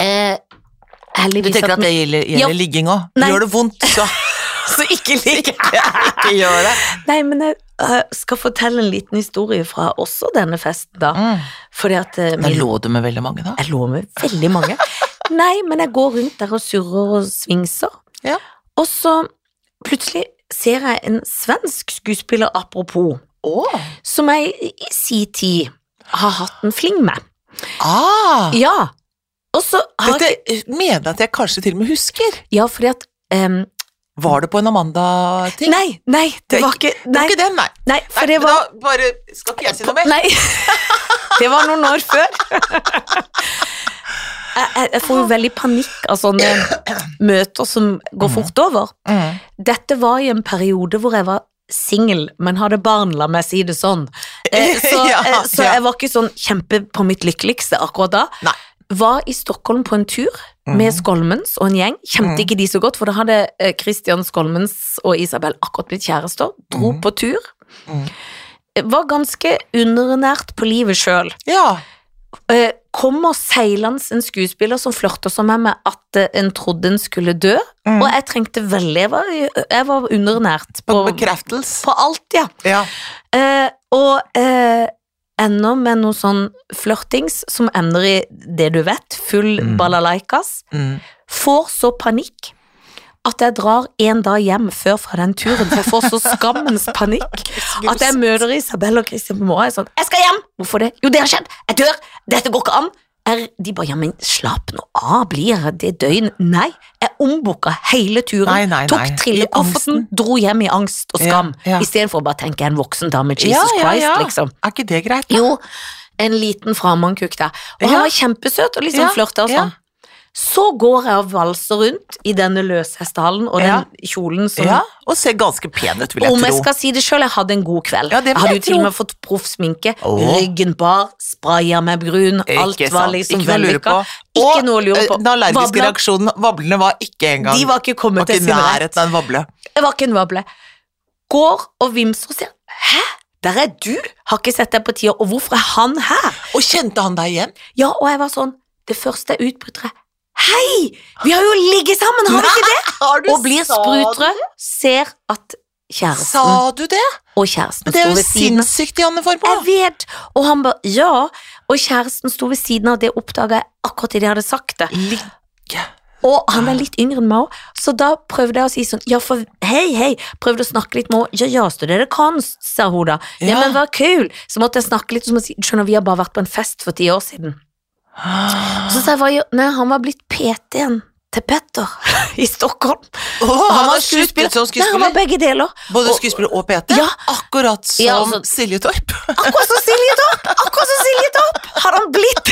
[SPEAKER 2] eh,
[SPEAKER 1] Du
[SPEAKER 2] Heldigvis
[SPEAKER 1] tenker at
[SPEAKER 2] at
[SPEAKER 1] det gjelder,
[SPEAKER 2] Ja.
[SPEAKER 1] gjelder ligging òg?
[SPEAKER 2] Nei.
[SPEAKER 1] Gjør det vondt, så
[SPEAKER 2] Så ikke ligg!
[SPEAKER 1] ikke gjør det.
[SPEAKER 2] Nei, men jeg eh, skal fortelle en liten historie fra også denne festen, da.
[SPEAKER 1] Mm.
[SPEAKER 2] Fordi at eh,
[SPEAKER 1] Men lå du med veldig mange, da?
[SPEAKER 2] Jeg lå med veldig mange. Nei, men jeg går rundt der og surrer og svingser.
[SPEAKER 1] Ja.
[SPEAKER 2] Og så plutselig ser jeg en svensk skuespiller, apropos,
[SPEAKER 1] Åh.
[SPEAKER 2] som jeg i si tid har hatt en fling med.
[SPEAKER 1] Ah.
[SPEAKER 2] Ja. Og så har jeg
[SPEAKER 1] Dette mener jeg at jeg kanskje til og med husker.
[SPEAKER 2] Ja, fordi at em,
[SPEAKER 1] Var det på en Amanda-ting?
[SPEAKER 2] Nei, nei, det var ikke
[SPEAKER 1] Det
[SPEAKER 2] Nei,
[SPEAKER 1] var ikke den, nei. nei
[SPEAKER 2] nei for det
[SPEAKER 1] men
[SPEAKER 2] var
[SPEAKER 1] Da bare skal ikke jeg si noe mer.
[SPEAKER 2] Nei. Det var noen år før. Jeg, jeg, jeg får jo veldig panikk av sånne møter som går fort over.
[SPEAKER 1] Mm.
[SPEAKER 2] Dette var i en periode hvor jeg var singel, men hadde barn, la meg si det sånn. Eh, Så,
[SPEAKER 1] Ja,
[SPEAKER 2] eh, så
[SPEAKER 1] ja.
[SPEAKER 2] jeg var ikke sånn kjempe på mitt lykkeligste akkurat da.
[SPEAKER 1] Nei.
[SPEAKER 2] Var i Stockholm på en tur
[SPEAKER 1] Mhm.
[SPEAKER 2] Mm. med Skolmens og en gjeng. Kjente
[SPEAKER 1] Mhm.
[SPEAKER 2] ikke de så godt, for da hadde eh, Christian Skolmens og Isabel akkurat blitt kjærester. Dro
[SPEAKER 1] Mhm.
[SPEAKER 2] på tur.
[SPEAKER 1] Mhm.
[SPEAKER 2] Var ganske underernært på livet sjøl.
[SPEAKER 1] Ja.
[SPEAKER 2] Eh, Kommer seilende en skuespiller som flørter så med meg at eh, en trodde en skulle dø.
[SPEAKER 1] Mm.
[SPEAKER 2] Og jeg trengte veldig Jeg var, jeg var underernært på,
[SPEAKER 1] På bekreftelse.
[SPEAKER 2] på alt, ja.
[SPEAKER 1] Ja.
[SPEAKER 2] Eh, og eh, ender med noe sånn flørtings som ender i det du vet, full
[SPEAKER 1] Mm.
[SPEAKER 2] balalaikas.
[SPEAKER 1] Mm.
[SPEAKER 2] Får så panikk at jeg drar en dag hjem før fra den turen, for jeg får så skammens panikk. At jeg møter Isabel og Christian på morgenen jeg er sånn Jeg skal hjem! Hvorfor det? Jo, det har skjedd! Jeg dør! Dette går ikke an! Jeg- De bare, ja, men slapp nå av, blir jeg det døgn? Nei, jeg ombooka hele turen,
[SPEAKER 1] Nei, nei, nei.
[SPEAKER 2] tok
[SPEAKER 1] I angsten.
[SPEAKER 2] trillekofferten, dro hjem i angst og skam,
[SPEAKER 1] Ja, ja.
[SPEAKER 2] istedenfor å bare tenke en voksen dame, Jesus
[SPEAKER 1] Ja, ja,
[SPEAKER 2] Christ,
[SPEAKER 1] ja.
[SPEAKER 2] liksom.
[SPEAKER 1] Er ikke det greit?
[SPEAKER 2] Jo, en liten framandkukk der. Og
[SPEAKER 1] Ja.
[SPEAKER 2] han var kjempesøt og liksom
[SPEAKER 1] Ja,
[SPEAKER 2] flørta og
[SPEAKER 1] ja.
[SPEAKER 2] sånn. Så går jeg og valser rundt i denne løshestehallen og den
[SPEAKER 1] Ja.
[SPEAKER 2] kjolen som
[SPEAKER 1] Ja, og ser ganske pen ut, vil jeg
[SPEAKER 2] om
[SPEAKER 1] tro.
[SPEAKER 2] jeg skal si det sjøl, jeg hadde en god kveld.
[SPEAKER 1] Ja, det vil
[SPEAKER 2] jeg hadde
[SPEAKER 1] jeg
[SPEAKER 2] jo til
[SPEAKER 1] tro.
[SPEAKER 2] og med fått proff sminke.
[SPEAKER 1] Åh.
[SPEAKER 2] Ryggen bar, spraya meg brun.
[SPEAKER 1] Ikke
[SPEAKER 2] alt var
[SPEAKER 1] sant,
[SPEAKER 2] liksom
[SPEAKER 1] ikke noe å lure
[SPEAKER 2] vellykka.
[SPEAKER 1] på.
[SPEAKER 2] Ikke
[SPEAKER 1] Og,
[SPEAKER 2] noe å lure
[SPEAKER 1] eh,
[SPEAKER 2] på.
[SPEAKER 1] Den allergiske
[SPEAKER 2] Vabla,
[SPEAKER 1] reaksjonen, vablene var ikke engang
[SPEAKER 2] de var ikke
[SPEAKER 1] var
[SPEAKER 2] kommet
[SPEAKER 1] ikke
[SPEAKER 2] til
[SPEAKER 1] i
[SPEAKER 2] sin rett.
[SPEAKER 1] nærheten av en vable.
[SPEAKER 2] Jeg var ikke en vable. Går og vimser og sier 'hæ, der er du', har ikke sett deg på tida, og hvorfor er han her?
[SPEAKER 1] Og kjente han deg igjen?
[SPEAKER 2] Ja, og jeg var sånn, det første jeg utbryter er 'hei, vi har jo ligget sammen, har vi ikke det?'
[SPEAKER 1] Har du
[SPEAKER 2] Og blir
[SPEAKER 1] sa-
[SPEAKER 2] sprutrød, ser at kjæresten
[SPEAKER 1] Sa du det?
[SPEAKER 2] og kjæresten
[SPEAKER 1] Men det
[SPEAKER 2] står
[SPEAKER 1] er jo
[SPEAKER 2] ved siden av.
[SPEAKER 1] sinnssykt, Janne
[SPEAKER 2] Jeg
[SPEAKER 1] Formoe.
[SPEAKER 2] vet! Og han bare ja. Og kjæresten sto ved siden av, det oppdaga jeg akkurat idet jeg hadde sagt det.
[SPEAKER 1] Ligge
[SPEAKER 2] Og han er litt yngre enn meg òg, så da prøvde jeg å si sånn ja, for hei, hei. Prøvde å snakke litt med henne. Ja, ja, studerer kunst, sa hun da. Ja,
[SPEAKER 1] Ja.
[SPEAKER 2] men hva kul! Så måtte jeg snakke litt, og så må jeg si skjønner, vi har bare vært på en fest for ti år siden. Og Så sa jeg hva gjør Nei, han var blitt PT-en til Petter i Stockholm.
[SPEAKER 1] Åh,
[SPEAKER 2] Og
[SPEAKER 1] han var
[SPEAKER 2] skuespiller.
[SPEAKER 1] skuespiller som
[SPEAKER 2] Nei, han var
[SPEAKER 1] skuespiller.
[SPEAKER 2] begge deler.
[SPEAKER 1] Både
[SPEAKER 2] og-
[SPEAKER 1] skuespiller og PT.
[SPEAKER 2] Ja.
[SPEAKER 1] Akkurat som
[SPEAKER 2] Ja, altså-
[SPEAKER 1] Silje Torp.
[SPEAKER 2] Akkurat som Silje Torp! Akkurat som Silje Torp har han blitt!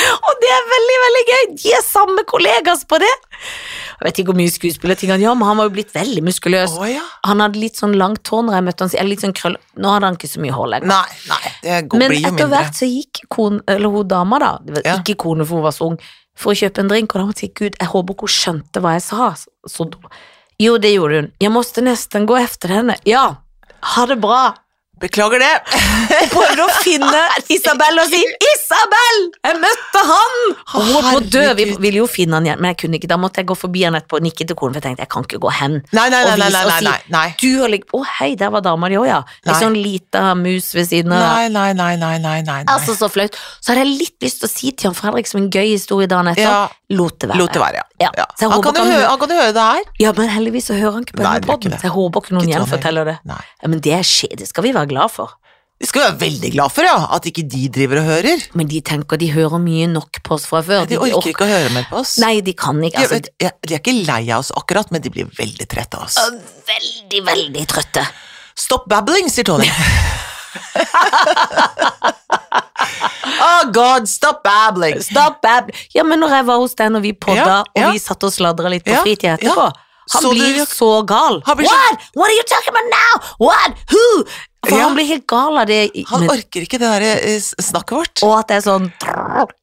[SPEAKER 2] Og det er veldig, veldig gøy. De er samme kollegas på det. Jeg vet ikke hvor mye skuespillerting han gjør, men han var jo blitt veldig muskuløs.
[SPEAKER 1] Å ja.
[SPEAKER 2] Han hadde litt sånn langt hår når jeg møtte han, eller litt sånn krøll. Nå hadde han ikke så mye hår lenger.
[SPEAKER 1] Nei, nei, det går,
[SPEAKER 2] Men
[SPEAKER 1] blir jo
[SPEAKER 2] etter
[SPEAKER 1] mindre.
[SPEAKER 2] hvert så gikk kon, eller hun dama, da, det var
[SPEAKER 1] Ja.
[SPEAKER 2] ikke kone for hun var så ung, for å kjøpe en drink, og da måtte jeg si gud, jeg håper ikke hun skjønte hva jeg sa. Så, jo, det gjorde hun. Jeg måtte nesten gå efter henne. Ja, ha det bra.
[SPEAKER 1] Beklager det.
[SPEAKER 2] Og prøvde å finne Isabel og si 'Isabel, jeg møtte han!' Og hun holdt på å dø. Vi
[SPEAKER 1] Herregud.
[SPEAKER 2] ville jo finne han igjen, men jeg kunne ikke. Da måtte jeg gå forbi han etterpå og nikke til konen, for jeg tenkte jeg kan ikke gå hen.
[SPEAKER 1] Nei, nei, nei.
[SPEAKER 2] Og
[SPEAKER 1] nei,
[SPEAKER 2] vise
[SPEAKER 1] nei,
[SPEAKER 2] og
[SPEAKER 1] nei,
[SPEAKER 2] si-
[SPEAKER 1] nei, nei.
[SPEAKER 2] Du har ligget Å, hei, der var dama di òg, ja. Ei
[SPEAKER 1] Nei.
[SPEAKER 2] sånn lita mus ved siden av.
[SPEAKER 1] Nei, nei, nei, nei, nei, nei.
[SPEAKER 2] Altså så flaut. Så hadde jeg litt lyst til å si til Jan Fredrik som en gøy historie dagen etter.
[SPEAKER 1] Ja.
[SPEAKER 2] Lot det være.
[SPEAKER 1] Lot det være, ja.
[SPEAKER 2] Ja.
[SPEAKER 1] ja.
[SPEAKER 2] Så jeg
[SPEAKER 1] Han,
[SPEAKER 2] håper
[SPEAKER 1] kan jo
[SPEAKER 2] ikke han-
[SPEAKER 1] høre, han kan jo høre det her.
[SPEAKER 2] Ja, men heldigvis så hører han ikke på
[SPEAKER 1] Nei,
[SPEAKER 2] denne
[SPEAKER 1] det gjør ikke
[SPEAKER 2] podden,
[SPEAKER 1] det.
[SPEAKER 2] så jeg håper ikke noen
[SPEAKER 1] Ikke
[SPEAKER 2] gjenforteller det.
[SPEAKER 1] Nei.
[SPEAKER 2] Ja, men det skjer, det skal vi være glad for.
[SPEAKER 1] Det skal vi være veldig glad for, ja. At ikke de driver og hører.
[SPEAKER 2] Men de tenker de hører mye nok på oss fra før.
[SPEAKER 1] De orker ikke å høre mer på oss.
[SPEAKER 2] Nei, de kan ikke.
[SPEAKER 1] De,
[SPEAKER 2] Altså,
[SPEAKER 1] de de er ikke lei av oss akkurat, men de blir veldig trette av oss.
[SPEAKER 2] veldig, veldig trøtte.
[SPEAKER 1] Stop babbling, sier Tony. oh God, stop babbling.
[SPEAKER 2] Stop bab. Ja, men når jeg var hos deg og vi podda,
[SPEAKER 1] Ja, ja.
[SPEAKER 2] og vi satt og sladra litt på
[SPEAKER 1] Ja,
[SPEAKER 2] fritida
[SPEAKER 1] ja.
[SPEAKER 2] etterpå, han
[SPEAKER 1] Så du
[SPEAKER 2] blir
[SPEAKER 1] reak-
[SPEAKER 2] så gal.
[SPEAKER 1] Han blir så-
[SPEAKER 2] What? What are you talking about now? What? Who? For
[SPEAKER 1] Ja.
[SPEAKER 2] han blir helt gal av det.
[SPEAKER 1] Han
[SPEAKER 2] men-
[SPEAKER 1] orker ikke det der eh, s- snakket vårt.
[SPEAKER 2] og at det er sånn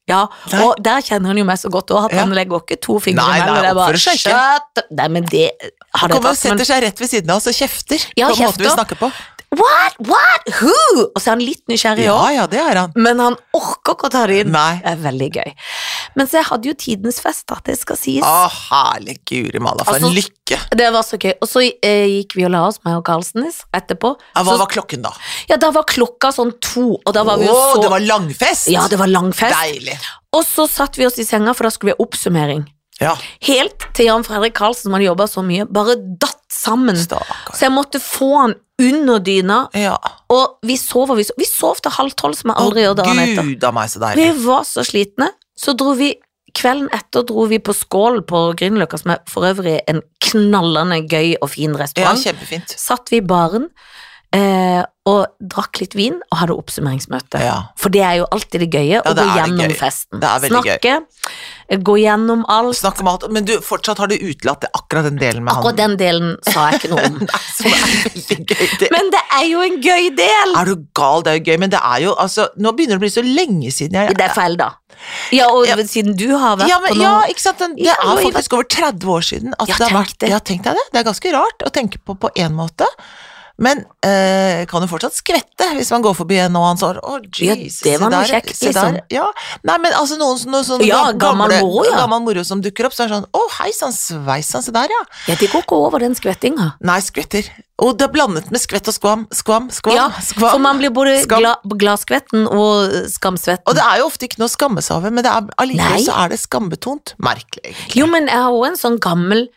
[SPEAKER 2] Ja,
[SPEAKER 1] Nei.
[SPEAKER 2] og der kjenner han jo meg så godt òg, at
[SPEAKER 1] Ja.
[SPEAKER 2] han legger ikke to fingre
[SPEAKER 1] Nei, nei,
[SPEAKER 2] imellom. Det er bare
[SPEAKER 1] oppfører seg ikke.
[SPEAKER 2] «Shut up!» Nei, men det har
[SPEAKER 1] Han
[SPEAKER 2] det
[SPEAKER 1] kommer og
[SPEAKER 2] tatt, men
[SPEAKER 1] setter seg rett ved siden av oss og kjefter.
[SPEAKER 2] Ja,
[SPEAKER 1] på måten vi
[SPEAKER 2] kjefter.
[SPEAKER 1] snakker på.
[SPEAKER 2] What? What? Who? Og så er han litt nysgjerrig
[SPEAKER 1] Ja,
[SPEAKER 2] òg,
[SPEAKER 1] ja, det er han.
[SPEAKER 2] men han orker ikke å ta det inn.
[SPEAKER 1] Nei.
[SPEAKER 2] Det er veldig gøy. Men så jeg hadde jo tidenes fest, da, det skal sies.
[SPEAKER 1] Å, herlig guri malla, for
[SPEAKER 2] Altså,
[SPEAKER 1] en lykke.
[SPEAKER 2] Det var så gøy. Og så eh, gikk vi og la oss, meg og Karlsenis, etterpå.
[SPEAKER 1] Ja, hva
[SPEAKER 2] så,
[SPEAKER 1] var klokken, da?
[SPEAKER 2] ja, da var klokka sånn to, og da var vi jo
[SPEAKER 1] Å,
[SPEAKER 2] så
[SPEAKER 1] det var langfest!
[SPEAKER 2] Ja, det var lang fest.
[SPEAKER 1] Deilig.
[SPEAKER 2] Og så satt vi oss i senga, for da skulle vi ha oppsummering.
[SPEAKER 1] Ja,
[SPEAKER 2] Helt til Jan Fredrik Karlsen, som hadde jobba så mye, bare datt sammen.
[SPEAKER 1] stakkar.
[SPEAKER 2] Så jeg måtte få han under dyna,
[SPEAKER 1] Ja.
[SPEAKER 2] og vi sov, og vi sov, vi sov til halv tolv, som jeg aldri gjør dagen etter.
[SPEAKER 1] Gud a meg, så
[SPEAKER 2] Vi
[SPEAKER 1] deilig.
[SPEAKER 2] var så slitne, så dro vi Kvelden etter dro vi på Skål på Grünerløkka, som er for øvrig en knallende gøy og fin
[SPEAKER 1] Ja,
[SPEAKER 2] restaurant.
[SPEAKER 1] kjempefint.
[SPEAKER 2] Satt vi i baren eh, og drakk litt vin og hadde oppsummeringsmøte.
[SPEAKER 1] Ja.
[SPEAKER 2] For det er jo alltid det gøye å
[SPEAKER 1] det
[SPEAKER 2] gå
[SPEAKER 1] er det
[SPEAKER 2] gjennom
[SPEAKER 1] gøy.
[SPEAKER 2] festen.
[SPEAKER 1] Det er veldig gøy.
[SPEAKER 2] Snakke, eh, gå gjennom alt.
[SPEAKER 1] Snakk om alt. Men du, fortsatt har du utelatt det- akkurat den delen med
[SPEAKER 2] Akkurat
[SPEAKER 1] han.
[SPEAKER 2] den delen sa jeg ikke noe om.
[SPEAKER 1] Som er veldig gøy. Det,
[SPEAKER 2] Men det er jo en gøy del!
[SPEAKER 1] er du gal, det er jo gøy, men det er jo altså Nå begynner det å bli så lenge siden jeg
[SPEAKER 2] Det er feil, da. Ja, og
[SPEAKER 1] Ja.
[SPEAKER 2] siden du har vært
[SPEAKER 1] ja, men,
[SPEAKER 2] på noe
[SPEAKER 1] ja, ikke sant? Den, det
[SPEAKER 2] Ja,
[SPEAKER 1] er
[SPEAKER 2] og i-
[SPEAKER 1] faktisk over 30 år siden at
[SPEAKER 2] Ja,
[SPEAKER 1] det har
[SPEAKER 2] tenk
[SPEAKER 1] vært
[SPEAKER 2] det.
[SPEAKER 1] Ja, tenk deg det. Det er ganske rart å tenke på på én måte. Men eh, kan jo fortsatt skvette hvis man går forbi en og han sår. Å,
[SPEAKER 2] Ja,
[SPEAKER 1] Jesus,
[SPEAKER 2] det var
[SPEAKER 1] se
[SPEAKER 2] noe
[SPEAKER 1] der,
[SPEAKER 2] kjekt,
[SPEAKER 1] se der.
[SPEAKER 2] liksom.
[SPEAKER 1] Ja. Nei, men altså noen, sånne- sånne
[SPEAKER 2] Ja,
[SPEAKER 1] gam-
[SPEAKER 2] gammel
[SPEAKER 1] gamle-
[SPEAKER 2] moro, ja.
[SPEAKER 1] gammel moro som dukker opp, så er det sånn Å, hei sann, sveisann, se der, ja.
[SPEAKER 2] Ja, det går ikke over den skvettinga.
[SPEAKER 1] Nei, skvetter. Og det er blandet med skvett og skvam, skvam, skvam.
[SPEAKER 2] Ja,
[SPEAKER 1] skvam.
[SPEAKER 2] For man blir både
[SPEAKER 1] Skam.
[SPEAKER 2] gla gladskvetten og eh, skamsvetten.
[SPEAKER 1] Og det er jo ofte ikke noe å skamme seg over, men det er, allikevel
[SPEAKER 2] Nei.
[SPEAKER 1] så er det skambetont. Merkelig, egentlig.
[SPEAKER 2] Jo, men jeg har også en sånn gammel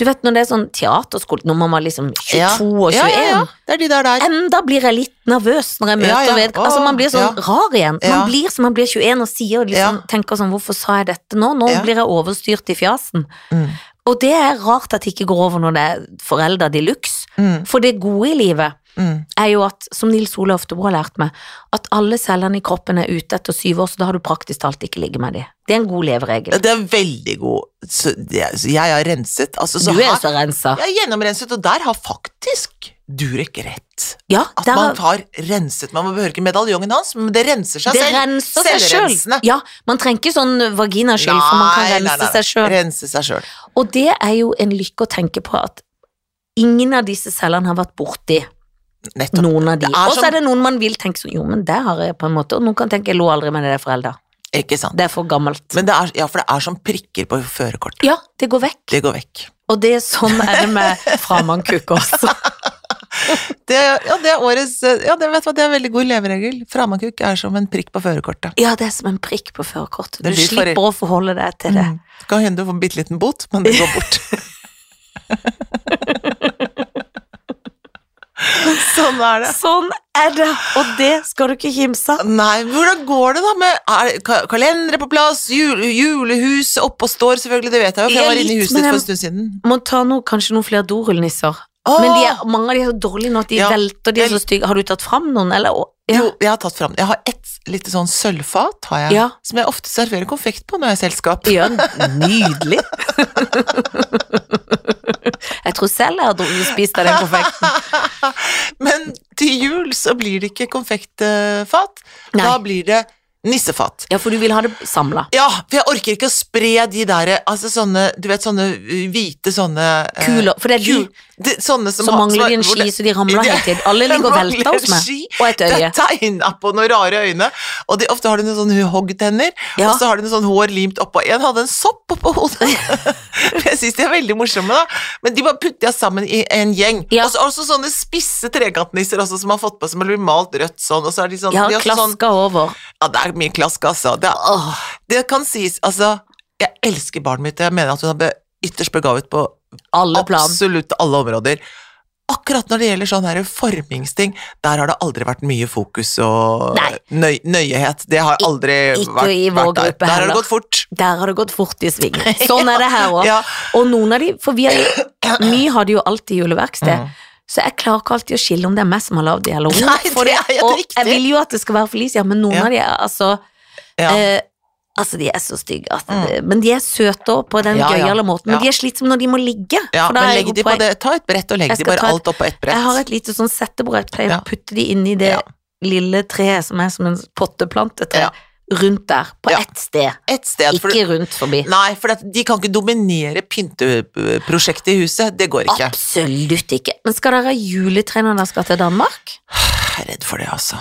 [SPEAKER 2] Du vet når det er sånn teaterskole, når man var liksom 22
[SPEAKER 1] Ja.
[SPEAKER 2] og 21
[SPEAKER 1] Ja, ja, ja. Det er de der der.
[SPEAKER 2] Enda blir jeg litt nervøs når jeg møter
[SPEAKER 1] Ja, ja.
[SPEAKER 2] ved Altså Man blir sånn
[SPEAKER 1] Ja.
[SPEAKER 2] rar igjen. Man
[SPEAKER 1] Ja.
[SPEAKER 2] blir som man blir 21 og sier og liksom,
[SPEAKER 1] Ja.
[SPEAKER 2] tenker sånn Hvorfor sa jeg dette nå? Nå
[SPEAKER 1] Ja.
[SPEAKER 2] blir jeg overstyrt i fjasen.
[SPEAKER 1] Mm.
[SPEAKER 2] Og det er rart at det ikke går over når det er foreldre de luxe.
[SPEAKER 1] Mm,
[SPEAKER 2] For det gode i livet
[SPEAKER 1] mm.
[SPEAKER 2] er jo at, som Nils Ole Oftebro har lært meg, at alle cellene i kroppen er ute etter syv år, så da har du praktisk talt ikke ligget med dem. Det er en god leveregel.
[SPEAKER 1] Det er veldig god. Så det, så jeg har renset. Altså, så
[SPEAKER 2] Du er jo
[SPEAKER 1] her,
[SPEAKER 2] så rensa.
[SPEAKER 1] jeg er gjennomrenset, og der har faktisk Durek rett.
[SPEAKER 2] Ja,
[SPEAKER 1] At
[SPEAKER 2] der,
[SPEAKER 1] man
[SPEAKER 2] har-
[SPEAKER 1] har renset. Man behøver ikke medaljongen hans, men det renser seg
[SPEAKER 2] det
[SPEAKER 1] selv.
[SPEAKER 2] renser seg sjøl.
[SPEAKER 1] Selvrensende.
[SPEAKER 2] Ja, man trenger ikke sånn vaginaskyld, for man kan
[SPEAKER 1] Nei, nei,
[SPEAKER 2] rense
[SPEAKER 1] nei.
[SPEAKER 2] seg sjøl.
[SPEAKER 1] Rense seg sjøl.
[SPEAKER 2] Og det er jo en lykke å tenke på at ingen av disse cellene har vært borti
[SPEAKER 1] Nettopp.
[SPEAKER 2] noen av de.
[SPEAKER 1] Det er
[SPEAKER 2] Og så
[SPEAKER 1] sånn-
[SPEAKER 2] er det noen man vil tenke sånn, jo, men det har jeg på en måte. Og noen kan tenke, jeg lå aldri med det der forelda.
[SPEAKER 1] Ikke sant.
[SPEAKER 2] Det er for gammelt.
[SPEAKER 1] Men det er, ja, for det er som prikker på førerkortet.
[SPEAKER 2] Ja, det går vekk.
[SPEAKER 1] Det går vekk.
[SPEAKER 2] Og det er sånn er det med framandkuk også.
[SPEAKER 1] Det, ja, det er årets Ja, det, vet du hva, det er veldig god leveregel. Framakuk er som en prikk på førerkortet.
[SPEAKER 2] Ja, det er som en prikk på førerkortet. Du
[SPEAKER 1] Det blir for-
[SPEAKER 2] slipper å forholde deg til det.
[SPEAKER 1] Mm. Det kan hende du får en bitte liten bot, men det går bort. sånn er det.
[SPEAKER 2] Sånn er det, og det skal du ikke kimse av.
[SPEAKER 1] Nei, hvordan går det da med er, ka- kalendere på plass, jul, julehus oppe og står selvfølgelig, det vet jeg jo, for jeg
[SPEAKER 2] Ja,
[SPEAKER 1] var inne i
[SPEAKER 2] litt,
[SPEAKER 1] huset ditt
[SPEAKER 2] men
[SPEAKER 1] for en
[SPEAKER 2] jeg-
[SPEAKER 1] stund siden.
[SPEAKER 2] Må ta noe, kanskje noen flere dorullnisser.
[SPEAKER 1] Åh,
[SPEAKER 2] Men de er, mange av de er så dårlige nå at de
[SPEAKER 1] Ja.
[SPEAKER 2] velter, de er så stygge. Har du tatt fram noen, eller? Å, Ja.
[SPEAKER 1] Jo, jeg har tatt fram Jeg har et lite sånn sølvfat, har jeg,
[SPEAKER 2] Ja.
[SPEAKER 1] som jeg ofte serverer konfekt på når jeg er i selskap.
[SPEAKER 2] Ja, nydelig. Jeg tror selv jeg har dro- spist av den konfekten.
[SPEAKER 1] Men til jul så blir det ikke konfektfat,
[SPEAKER 2] Nei.
[SPEAKER 1] da blir det nissefat.
[SPEAKER 2] Ja, for du vil ha det samla.
[SPEAKER 1] Ja, for jeg orker ikke å spre de der altså sånne, du vet, sånne uh, hvite sånne eh,
[SPEAKER 2] Kuler. For det er de
[SPEAKER 1] kul- de, Sånne som
[SPEAKER 2] som
[SPEAKER 1] har-
[SPEAKER 2] mangler
[SPEAKER 1] har-
[SPEAKER 2] de en
[SPEAKER 1] hvor
[SPEAKER 2] ski,
[SPEAKER 1] det-
[SPEAKER 2] så de ramler
[SPEAKER 1] Det-
[SPEAKER 2] hele tiden. Alle ligger og velter hos meg.
[SPEAKER 1] Ski.
[SPEAKER 2] Og et
[SPEAKER 1] Det
[SPEAKER 2] øye.
[SPEAKER 1] er tegna på noen rare øyne, og de, ofte har de noen sånne hoggtenner,
[SPEAKER 2] Ja.
[SPEAKER 1] og så har de noen sånn hår limt oppå. En hadde en sopp oppå hodet. jeg syns de er veldig morsomme, da. Men de bare putter jeg sammen i en gjeng.
[SPEAKER 2] Ja.
[SPEAKER 1] Og så også sånne spisse trekantnisser også, som har fått på som blir malt rødt sånn, og så er de sånn
[SPEAKER 2] Ja,
[SPEAKER 1] de er også sånn,
[SPEAKER 2] klaska over.
[SPEAKER 1] ja, det er mye klask, altså. Det, er, åh, det kan sies, altså Jeg elsker barnet mitt, og jeg mener at hun er be, ytterst begavet på
[SPEAKER 2] Alle plan.
[SPEAKER 1] absolutt alle områder. Akkurat når det gjelder sånne her formingsting, der har det aldri vært mye fokus og
[SPEAKER 2] Nei.
[SPEAKER 1] nøy, nøyehet. Det har aldri
[SPEAKER 2] ikke
[SPEAKER 1] vært,
[SPEAKER 2] i vår
[SPEAKER 1] vært der.
[SPEAKER 2] gruppe
[SPEAKER 1] Der har
[SPEAKER 2] heller.
[SPEAKER 1] det gått fort.
[SPEAKER 2] Der har det gått fort i svingen. Sånn er det her òg.
[SPEAKER 1] Ja.
[SPEAKER 2] Og noen av de, for vi har jo, vi hadde jo alltid juleverksted, så jeg klarer ikke alltid å skille om det er meg som har lagd de eller hun.
[SPEAKER 1] Mm. Nei, det
[SPEAKER 2] For
[SPEAKER 1] er helt
[SPEAKER 2] og
[SPEAKER 1] riktig.
[SPEAKER 2] jeg vil jo at det skal være Felicia, men noen
[SPEAKER 1] Ja.
[SPEAKER 2] av de er altså
[SPEAKER 1] Ja. Mm.
[SPEAKER 2] eh, Altså, de er så stygge, at det- men de er søte òg på den
[SPEAKER 1] Ja, ja.
[SPEAKER 2] gøyale måten. Men
[SPEAKER 1] Ja.
[SPEAKER 2] de er slitsomme når de må ligge.
[SPEAKER 1] ja,
[SPEAKER 2] for da
[SPEAKER 1] men
[SPEAKER 2] er jeg
[SPEAKER 1] legg
[SPEAKER 2] god
[SPEAKER 1] de på
[SPEAKER 2] på-
[SPEAKER 1] det. Ta et brett og legg
[SPEAKER 2] Jeg
[SPEAKER 1] de
[SPEAKER 2] skal
[SPEAKER 1] bare
[SPEAKER 2] ta et-
[SPEAKER 1] alt oppå ett brett.
[SPEAKER 2] Jeg har et lite sånn settebrød, jeg pleier
[SPEAKER 1] Ja.
[SPEAKER 2] å putte de inni det
[SPEAKER 1] Ja.
[SPEAKER 2] lille treet som er som en potteplante-tre,
[SPEAKER 1] Ja.
[SPEAKER 2] rundt der, på
[SPEAKER 1] Ja.
[SPEAKER 2] ett sted,
[SPEAKER 1] Et sted, for,
[SPEAKER 2] ikke rundt forbi.
[SPEAKER 1] nei, for at de kan ikke dominere pynteprosjektet i huset. Det går ikke.
[SPEAKER 2] Absolutt ikke. Men skal dere ha juletre når dere skal til Danmark?
[SPEAKER 1] Jeg er redd for det, altså.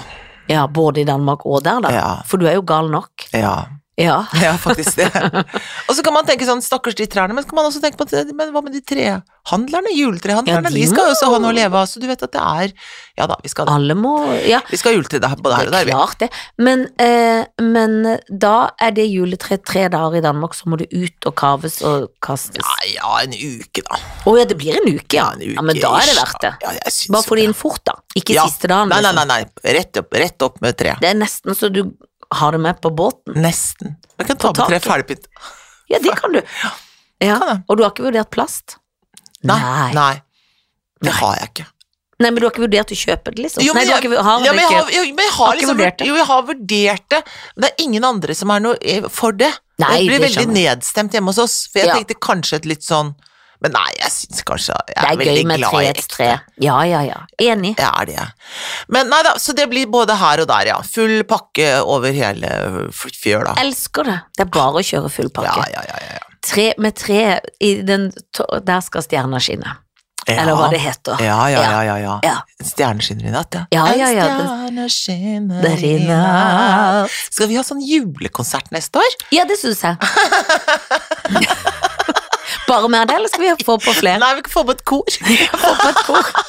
[SPEAKER 2] Ja, både i Danmark og der, da.
[SPEAKER 1] Ja.
[SPEAKER 2] For du er jo gal nok.
[SPEAKER 1] Ja.
[SPEAKER 2] Ja.
[SPEAKER 1] Ja, faktisk det. og så kan man tenke sånn, stakkars de trærne, men så kan man også tenke på at, men hva med de trehandlerne,
[SPEAKER 2] Ja,
[SPEAKER 1] juletrehandlerne,
[SPEAKER 2] de
[SPEAKER 1] de skal jo også ha noe å leve av, så du vet at det er, ja da, vi skal,
[SPEAKER 2] Alle må Ja,
[SPEAKER 1] vi skal ha juletre der, både
[SPEAKER 2] Ah.
[SPEAKER 1] her
[SPEAKER 2] det
[SPEAKER 1] og
[SPEAKER 2] er
[SPEAKER 1] der. vi.
[SPEAKER 2] klart, det. Men, eh, men da er det juletre tre dager i Danmark, så må det ut og kaves og kastes. Å
[SPEAKER 1] Nei, ja, en uke da.
[SPEAKER 2] ja, det blir en uke, ja.
[SPEAKER 1] Ja, en uke,
[SPEAKER 2] ja. Men da er det
[SPEAKER 1] ish,
[SPEAKER 2] verdt det.
[SPEAKER 1] Ja, jeg synes
[SPEAKER 2] Bare
[SPEAKER 1] jo
[SPEAKER 2] få det
[SPEAKER 1] det.
[SPEAKER 2] inn fort, da. Ikke
[SPEAKER 1] Ja.
[SPEAKER 2] siste dagen.
[SPEAKER 1] Nei, nei,
[SPEAKER 2] liksom.
[SPEAKER 1] nei, nei, rett opp, rett opp med tre.
[SPEAKER 2] Det er nesten så du har det med på båten.
[SPEAKER 1] Nesten. Man kan ta
[SPEAKER 2] Ta-
[SPEAKER 1] med tre ferdigpynt.
[SPEAKER 2] Ja, det kan du. Ja.
[SPEAKER 1] Kan jeg.
[SPEAKER 2] Og du har ikke vurdert plast?
[SPEAKER 1] Nei.
[SPEAKER 2] Nei.
[SPEAKER 1] Nei. Det
[SPEAKER 2] Nei.
[SPEAKER 1] har jeg ikke.
[SPEAKER 2] Nei, men du har ikke vurdert å kjøpe det, liksom?
[SPEAKER 1] Jo,
[SPEAKER 2] Nei,
[SPEAKER 1] men
[SPEAKER 2] du har
[SPEAKER 1] jeg-
[SPEAKER 2] ikke, har
[SPEAKER 1] Ja, men jeg
[SPEAKER 2] ikke-
[SPEAKER 1] har, jo, men jeg
[SPEAKER 2] har
[SPEAKER 1] har
[SPEAKER 2] ikke
[SPEAKER 1] liksom
[SPEAKER 2] vurdert
[SPEAKER 1] vurdert
[SPEAKER 2] det.
[SPEAKER 1] det. Jo, jeg har vurdert det. Men det er ingen andre som er noe eh, for det.
[SPEAKER 2] Nei,
[SPEAKER 1] jeg blir
[SPEAKER 2] det
[SPEAKER 1] veldig
[SPEAKER 2] skjønner
[SPEAKER 1] nedstemt hjemme hos oss, for jeg
[SPEAKER 2] Ja.
[SPEAKER 1] tenkte kanskje et litt sånn Men nei, jeg syns kanskje Jeg
[SPEAKER 2] Det
[SPEAKER 1] er,
[SPEAKER 2] er gøy
[SPEAKER 1] veldig
[SPEAKER 2] med
[SPEAKER 1] glad i
[SPEAKER 2] treets
[SPEAKER 1] ekte.
[SPEAKER 2] tre. Ja, ja, ja. Enig.
[SPEAKER 1] Det er det. jeg. Men nei da, så det blir både her og der, ja. Full pakke over hele f- fjøla.
[SPEAKER 2] Elsker det. Det er bare å kjøre full
[SPEAKER 1] Ja,
[SPEAKER 2] pakke.
[SPEAKER 1] ja, ja. ja, ja.
[SPEAKER 2] Tre, med tre i den to- Der skal stjerna skinne.
[SPEAKER 1] ja.
[SPEAKER 2] Eller hva det heter.
[SPEAKER 1] Ja, ja, ja, ja. ja.
[SPEAKER 2] Ja.
[SPEAKER 1] Stjernen skinner i natt, ja.
[SPEAKER 2] Ja, ja, ja,
[SPEAKER 1] En stjerne skinner i natt. Skal vi ha sånn julekonsert neste år?
[SPEAKER 2] Ja, det syns jeg. Bare med det, eller skal vi få på flere?
[SPEAKER 1] Nei, vi kan få med et kor.
[SPEAKER 2] Få på et kor.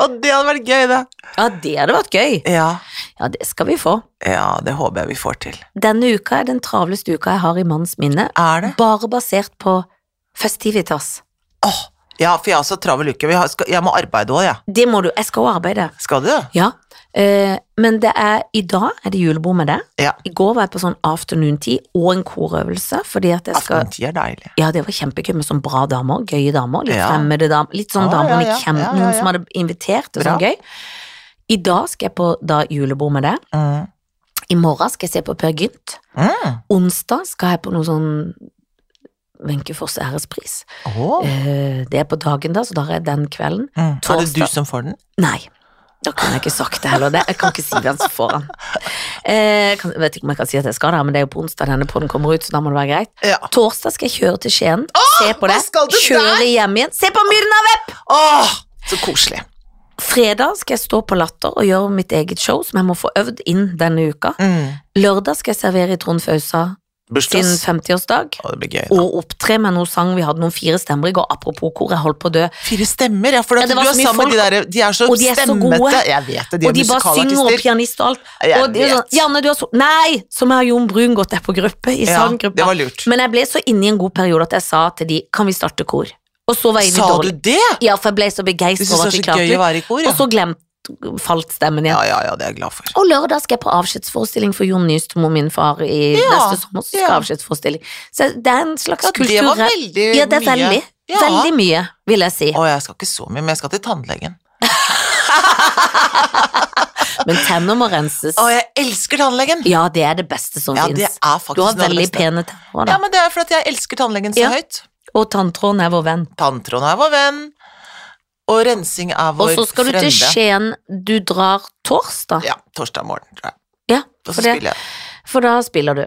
[SPEAKER 1] Og det hadde vært gøy, det.
[SPEAKER 2] Ja, det hadde vært gøy.
[SPEAKER 1] Ja.
[SPEAKER 2] Ja, det skal vi få.
[SPEAKER 1] ja, det håper jeg vi får til.
[SPEAKER 2] Denne uka er den travleste uka jeg har i manns minne,
[SPEAKER 1] Er det?
[SPEAKER 2] bare basert på festivitas.
[SPEAKER 1] Åh, ja, for jeg har så travel uke. Vi har- skal- Jeg må arbeide òg, jeg.
[SPEAKER 2] Det må du. Jeg skal jo arbeide.
[SPEAKER 1] Skal du?
[SPEAKER 2] Ja, eh, men det er i dag er det julebord med deg.
[SPEAKER 1] Ja.
[SPEAKER 2] I går var jeg på sånn afternoon tea og en korøvelse, fordi at jeg skal
[SPEAKER 1] Aftentid er deilig.
[SPEAKER 2] Ja, det var kjempegøy med sånn bra damer, gøye damer, litt
[SPEAKER 1] Ja.
[SPEAKER 2] fremmede damer, litt sånn
[SPEAKER 1] Ja,
[SPEAKER 2] damer
[SPEAKER 1] ja,
[SPEAKER 2] man
[SPEAKER 1] ja,
[SPEAKER 2] ikke kjenner,
[SPEAKER 1] ja, ja, ja.
[SPEAKER 2] noen som hadde invitert,
[SPEAKER 1] Bra.
[SPEAKER 2] og sånn gøy. I dag skal jeg på da julebord med deg.
[SPEAKER 1] Mm.
[SPEAKER 2] I morgen skal jeg se på Per Gynt.
[SPEAKER 1] Mm.
[SPEAKER 2] Onsdag skal jeg på noe sånn Wenche Foss ærespris.
[SPEAKER 1] Åh.
[SPEAKER 2] Eh, det er på dagen da, så da er jeg den kvelden.
[SPEAKER 1] Mm. Er det du
[SPEAKER 2] Torsdag.
[SPEAKER 1] som får den?
[SPEAKER 2] Nei. Da kunne jeg ikke sagt det heller. Det, jeg kan ikke si hvem som får den. Eh, jeg kan, vet ikke om jeg kan si at jeg skal det, her, men det er jo på onsdag denne podden kommer ut, så da må det være greit.
[SPEAKER 1] Ja.
[SPEAKER 2] Torsdag skal jeg kjøre til Skien, se på
[SPEAKER 1] hva
[SPEAKER 2] det,
[SPEAKER 1] skal du
[SPEAKER 2] kjøre hjem igjen. Se på Myrna Web!
[SPEAKER 1] Åh, så koselig.
[SPEAKER 2] Fredag skal jeg stå på Latter og gjøre mitt eget show, som jeg må få øvd inn denne uka.
[SPEAKER 1] Mm.
[SPEAKER 2] Lørdag skal jeg servere i Trond Fausa sin
[SPEAKER 1] Bursdags.
[SPEAKER 2] 50-årsdag.
[SPEAKER 1] Å, det blir gøy. Da.
[SPEAKER 2] Og opptre med noen sang Vi hadde noen fire stemmer i går, apropos kor, jeg holdt på å dø.
[SPEAKER 1] Fire stemmer, ja. For
[SPEAKER 2] Ja,
[SPEAKER 1] at
[SPEAKER 2] det var
[SPEAKER 1] du
[SPEAKER 2] så
[SPEAKER 1] er
[SPEAKER 2] mye
[SPEAKER 1] sammen med de
[SPEAKER 2] folk,
[SPEAKER 1] der De er så
[SPEAKER 2] og de er så
[SPEAKER 1] stemmete.
[SPEAKER 2] gode.
[SPEAKER 1] Jeg vet det, de
[SPEAKER 2] Og
[SPEAKER 1] er
[SPEAKER 2] de bare synger og
[SPEAKER 1] musikalartister.
[SPEAKER 2] pianist og alt.
[SPEAKER 1] Jeg
[SPEAKER 2] og det er sånn,
[SPEAKER 1] vet.
[SPEAKER 2] Janne, du har så Nei! Så har Jon Brun gått der på gruppe,
[SPEAKER 1] Ja,
[SPEAKER 2] i
[SPEAKER 1] det
[SPEAKER 2] sanggruppa.
[SPEAKER 1] var lurt.
[SPEAKER 2] Men jeg ble så inne i en god periode at jeg sa til de Kan vi starte kor? Og så var jeg inne i
[SPEAKER 1] Sa du
[SPEAKER 2] dårlig.
[SPEAKER 1] det?
[SPEAKER 2] Ja, for jeg ble så
[SPEAKER 1] Du
[SPEAKER 2] begeistra
[SPEAKER 1] syns
[SPEAKER 2] over
[SPEAKER 1] det er
[SPEAKER 2] at vi
[SPEAKER 1] så
[SPEAKER 2] klarte
[SPEAKER 1] gøy å
[SPEAKER 2] det.
[SPEAKER 1] være i kor, ja?
[SPEAKER 2] Og så glemt, falt stemmen igjen.
[SPEAKER 1] Ja, ja, ja, det er jeg glad for.
[SPEAKER 2] Og lørdag skal jeg på avskjedsforestilling for Jon Nystumo, min far, i
[SPEAKER 1] Ja,
[SPEAKER 2] neste sommer. Så skal jeg
[SPEAKER 1] ja.
[SPEAKER 2] avskjedsforestilling. Så det er en slags
[SPEAKER 1] Ja,
[SPEAKER 2] kultur.
[SPEAKER 1] det var veldig
[SPEAKER 2] ja, det er
[SPEAKER 1] mye.
[SPEAKER 2] veldig.
[SPEAKER 1] Ja.
[SPEAKER 2] Veldig mye, vil jeg si.
[SPEAKER 1] Å, jeg skal ikke så mye, men jeg skal til tannlegen.
[SPEAKER 2] Men tenner må renses.
[SPEAKER 1] Å, jeg elsker tannlegen!
[SPEAKER 2] Ja, det er det beste som
[SPEAKER 1] Ja, det
[SPEAKER 2] fins.
[SPEAKER 1] er
[SPEAKER 2] Du har
[SPEAKER 1] faktisk noe av det
[SPEAKER 2] veldig
[SPEAKER 1] beste.
[SPEAKER 2] pene tenner, da.
[SPEAKER 1] Ja, men det er fordi jeg elsker tannlegen så
[SPEAKER 2] Ja.
[SPEAKER 1] høyt.
[SPEAKER 2] Og tanntråden er vår venn.
[SPEAKER 1] Tanntråden er vår venn, og rensing er
[SPEAKER 2] Og
[SPEAKER 1] vår
[SPEAKER 2] så skal du
[SPEAKER 1] frende.
[SPEAKER 2] til Skien. Du drar torsdag.
[SPEAKER 1] Ja, torsdag morgen, tror jeg.
[SPEAKER 2] Ja,
[SPEAKER 1] Og
[SPEAKER 2] for,
[SPEAKER 1] så
[SPEAKER 2] det, Mm.
[SPEAKER 1] spiller jeg.
[SPEAKER 2] for da spiller du.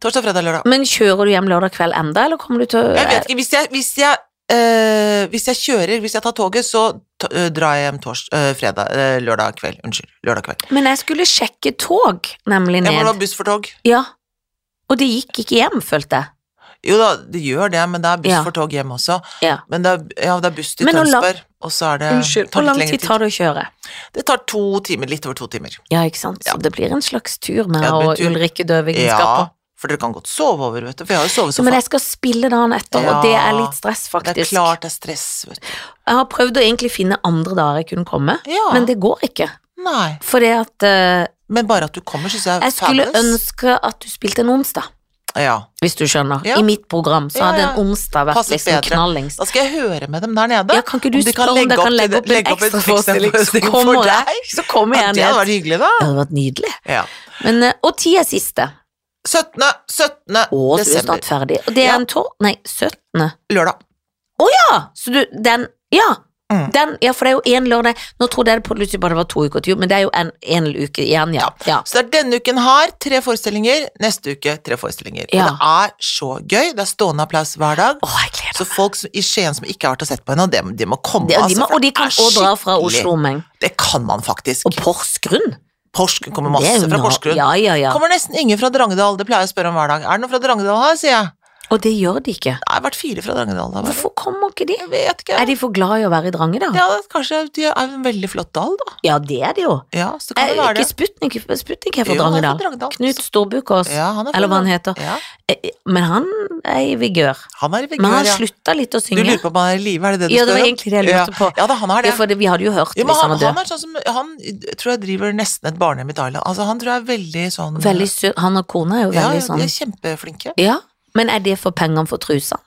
[SPEAKER 1] Torsdag, fredag, lørdag.
[SPEAKER 2] Men kjører du hjem lørdag kveld enda, eller kommer du til å
[SPEAKER 1] Jeg vet ikke, hvis jeg, hvis jeg, eh, hvis jeg kjører, hvis jeg tar toget, så t eh, drar jeg hjem tors eh, fredag, eh, lørdag kveld. Unnskyld, lørdag kveld.
[SPEAKER 2] Men jeg skulle sjekke tog, nemlig
[SPEAKER 1] Jeg må ha
[SPEAKER 2] ned.
[SPEAKER 1] buss for tog.
[SPEAKER 2] Ja. Og det gikk ikke hjem, følte jeg.
[SPEAKER 1] Jo da, det gjør det, men det er buss
[SPEAKER 2] Ja.
[SPEAKER 1] for tog hjem også.
[SPEAKER 2] Ja.
[SPEAKER 1] Men det er, ja, det er buss til
[SPEAKER 2] Men hvor lang-
[SPEAKER 1] Tønsberg, og så er det
[SPEAKER 2] Unnskyld,
[SPEAKER 1] tar
[SPEAKER 2] hvor
[SPEAKER 1] litt
[SPEAKER 2] lang
[SPEAKER 1] lengre
[SPEAKER 2] tid tar det å kjøre?
[SPEAKER 1] Det tar to timer, litt over to timer.
[SPEAKER 2] Ja, ikke sant? Så det blir en slags tur med
[SPEAKER 1] Ja, det blir
[SPEAKER 2] og
[SPEAKER 1] tur.
[SPEAKER 2] Ulrikke Døvingen skal på.
[SPEAKER 1] Ja, for dere kan godt sove over, vet du, for jeg har jo sovet så
[SPEAKER 2] Men
[SPEAKER 1] fast.
[SPEAKER 2] jeg skal spille dagen etter,
[SPEAKER 1] Ja.
[SPEAKER 2] og det er litt stress, faktisk.
[SPEAKER 1] Det er klart det er stress, vet du.
[SPEAKER 2] Jeg har prøvd å egentlig finne andre dager jeg kunne komme,
[SPEAKER 1] Ja,
[SPEAKER 2] men det går ikke.
[SPEAKER 1] nei.
[SPEAKER 2] Fordi at eh,
[SPEAKER 1] Men bare at du kommer, synes jeg er
[SPEAKER 2] Jeg skulle
[SPEAKER 1] fabulous.
[SPEAKER 2] ønske at du spilte en onsdag,
[SPEAKER 1] Ja.
[SPEAKER 2] hvis du skjønner.
[SPEAKER 1] Ja.
[SPEAKER 2] I mitt program så
[SPEAKER 1] Ja,
[SPEAKER 2] hadde
[SPEAKER 1] ja.
[SPEAKER 2] en onsdag vært
[SPEAKER 1] Passet
[SPEAKER 2] liksom
[SPEAKER 1] bedre.
[SPEAKER 2] knallings.
[SPEAKER 1] Da skal jeg høre med dem der nede.
[SPEAKER 2] Ja, kan ikke du
[SPEAKER 1] Om de kan
[SPEAKER 2] spørre om
[SPEAKER 1] legge
[SPEAKER 2] jeg
[SPEAKER 1] opp
[SPEAKER 2] kan
[SPEAKER 1] til
[SPEAKER 2] legge
[SPEAKER 1] det-
[SPEAKER 2] opp en
[SPEAKER 1] legge opp en
[SPEAKER 2] ekstra forestilling, så
[SPEAKER 1] ekstraforestilling for
[SPEAKER 2] kommer jeg,
[SPEAKER 1] deg?
[SPEAKER 2] så kommer
[SPEAKER 1] Ja,
[SPEAKER 2] jeg
[SPEAKER 1] det hadde
[SPEAKER 2] ned.
[SPEAKER 1] vært hyggelig, da.
[SPEAKER 2] Det hadde vært nydelig.
[SPEAKER 1] Ja.
[SPEAKER 2] Men, eh, og ti er siste.
[SPEAKER 1] 17. 17.
[SPEAKER 2] Å, så er du
[SPEAKER 1] desember.
[SPEAKER 2] snart ferdig. Og det er
[SPEAKER 1] Ja.
[SPEAKER 2] en tor... Nei, 17.
[SPEAKER 1] Lørdag.
[SPEAKER 2] Ja, så du, den Ja.
[SPEAKER 1] Mm.
[SPEAKER 2] Den, ja, for det er jo én lørdag Nå trodde jeg det plutselig bare det var to uker til jul, men det er jo en, en uke igjen, ja. ja.
[SPEAKER 1] Så det er denne uken her, tre forestillinger. Neste uke, tre forestillinger. Og
[SPEAKER 2] Ja.
[SPEAKER 1] det er så gøy. Det er stående applaus hver dag.
[SPEAKER 2] Å, jeg gleder meg.
[SPEAKER 1] Så folk som, i Skien som ikke har vært og sett på henne, de, de må komme.
[SPEAKER 2] Det- og de
[SPEAKER 1] altså,
[SPEAKER 2] må-
[SPEAKER 1] for
[SPEAKER 2] Og de
[SPEAKER 1] det
[SPEAKER 2] kan
[SPEAKER 1] er
[SPEAKER 2] også dra fra
[SPEAKER 1] skikkelig-
[SPEAKER 2] Oslo omegn.
[SPEAKER 1] Det kan man faktisk.
[SPEAKER 2] Og Porsgrunn.
[SPEAKER 1] Porsgrunn kommer
[SPEAKER 2] Det er
[SPEAKER 1] masse
[SPEAKER 2] jo
[SPEAKER 1] fra
[SPEAKER 2] na-
[SPEAKER 1] Porsgrunn.
[SPEAKER 2] Ja, ja, ja.
[SPEAKER 1] Kommer nesten ingen fra Drangedal, det pleier jeg å spørre om hver dag. Er det noen fra Drangedal her, sier jeg.
[SPEAKER 2] Og det gjør de ikke.
[SPEAKER 1] Det har vært fire fra Drangedal. da, vel?
[SPEAKER 2] Hvorfor kommer ikke de?
[SPEAKER 1] Jeg vet ikke.
[SPEAKER 2] Er de for glad i å være i Drangedal? Ja.
[SPEAKER 1] Ja, kanskje de er en veldig flott dal, da.
[SPEAKER 2] det er de jo.
[SPEAKER 1] Ja, så kan
[SPEAKER 2] Er
[SPEAKER 1] det være
[SPEAKER 2] ikke
[SPEAKER 1] det.
[SPEAKER 2] Sputnik, Sputnik er fra
[SPEAKER 1] Jo, han er fra
[SPEAKER 2] Drangedal?
[SPEAKER 1] Drangedal.
[SPEAKER 2] Knut Storbukås,
[SPEAKER 1] Ja, han er fra
[SPEAKER 2] eller hva han
[SPEAKER 1] Drangedal.
[SPEAKER 2] heter.
[SPEAKER 1] Ja,
[SPEAKER 2] Eh, Men han er i vigør.
[SPEAKER 1] han er i
[SPEAKER 2] Men han
[SPEAKER 1] Vigør, ja.
[SPEAKER 2] slutta litt å
[SPEAKER 1] Du
[SPEAKER 2] synge.
[SPEAKER 1] lurer på om han er i live, er det det du
[SPEAKER 2] Ja, det
[SPEAKER 1] spør
[SPEAKER 2] var
[SPEAKER 1] om?
[SPEAKER 2] egentlig det jeg lurte
[SPEAKER 1] ja.
[SPEAKER 2] på.
[SPEAKER 1] Ja, da, han er det.
[SPEAKER 2] Ja, for det- vi hadde jo hørt liksom
[SPEAKER 1] Ja,
[SPEAKER 2] det
[SPEAKER 1] men
[SPEAKER 2] hvis han
[SPEAKER 1] han,
[SPEAKER 2] var
[SPEAKER 1] han
[SPEAKER 2] død.
[SPEAKER 1] er sånn som Han tror jeg driver nesten et barnehjem i Thailand. Altså, han tror jeg er veldig sånn
[SPEAKER 2] Veldig søt. Han og kona er jo
[SPEAKER 1] Ja, ja,
[SPEAKER 2] veldig
[SPEAKER 1] de
[SPEAKER 2] sånn
[SPEAKER 1] er kjempeflinke.
[SPEAKER 2] Ja, Men er det for pengene for trusa?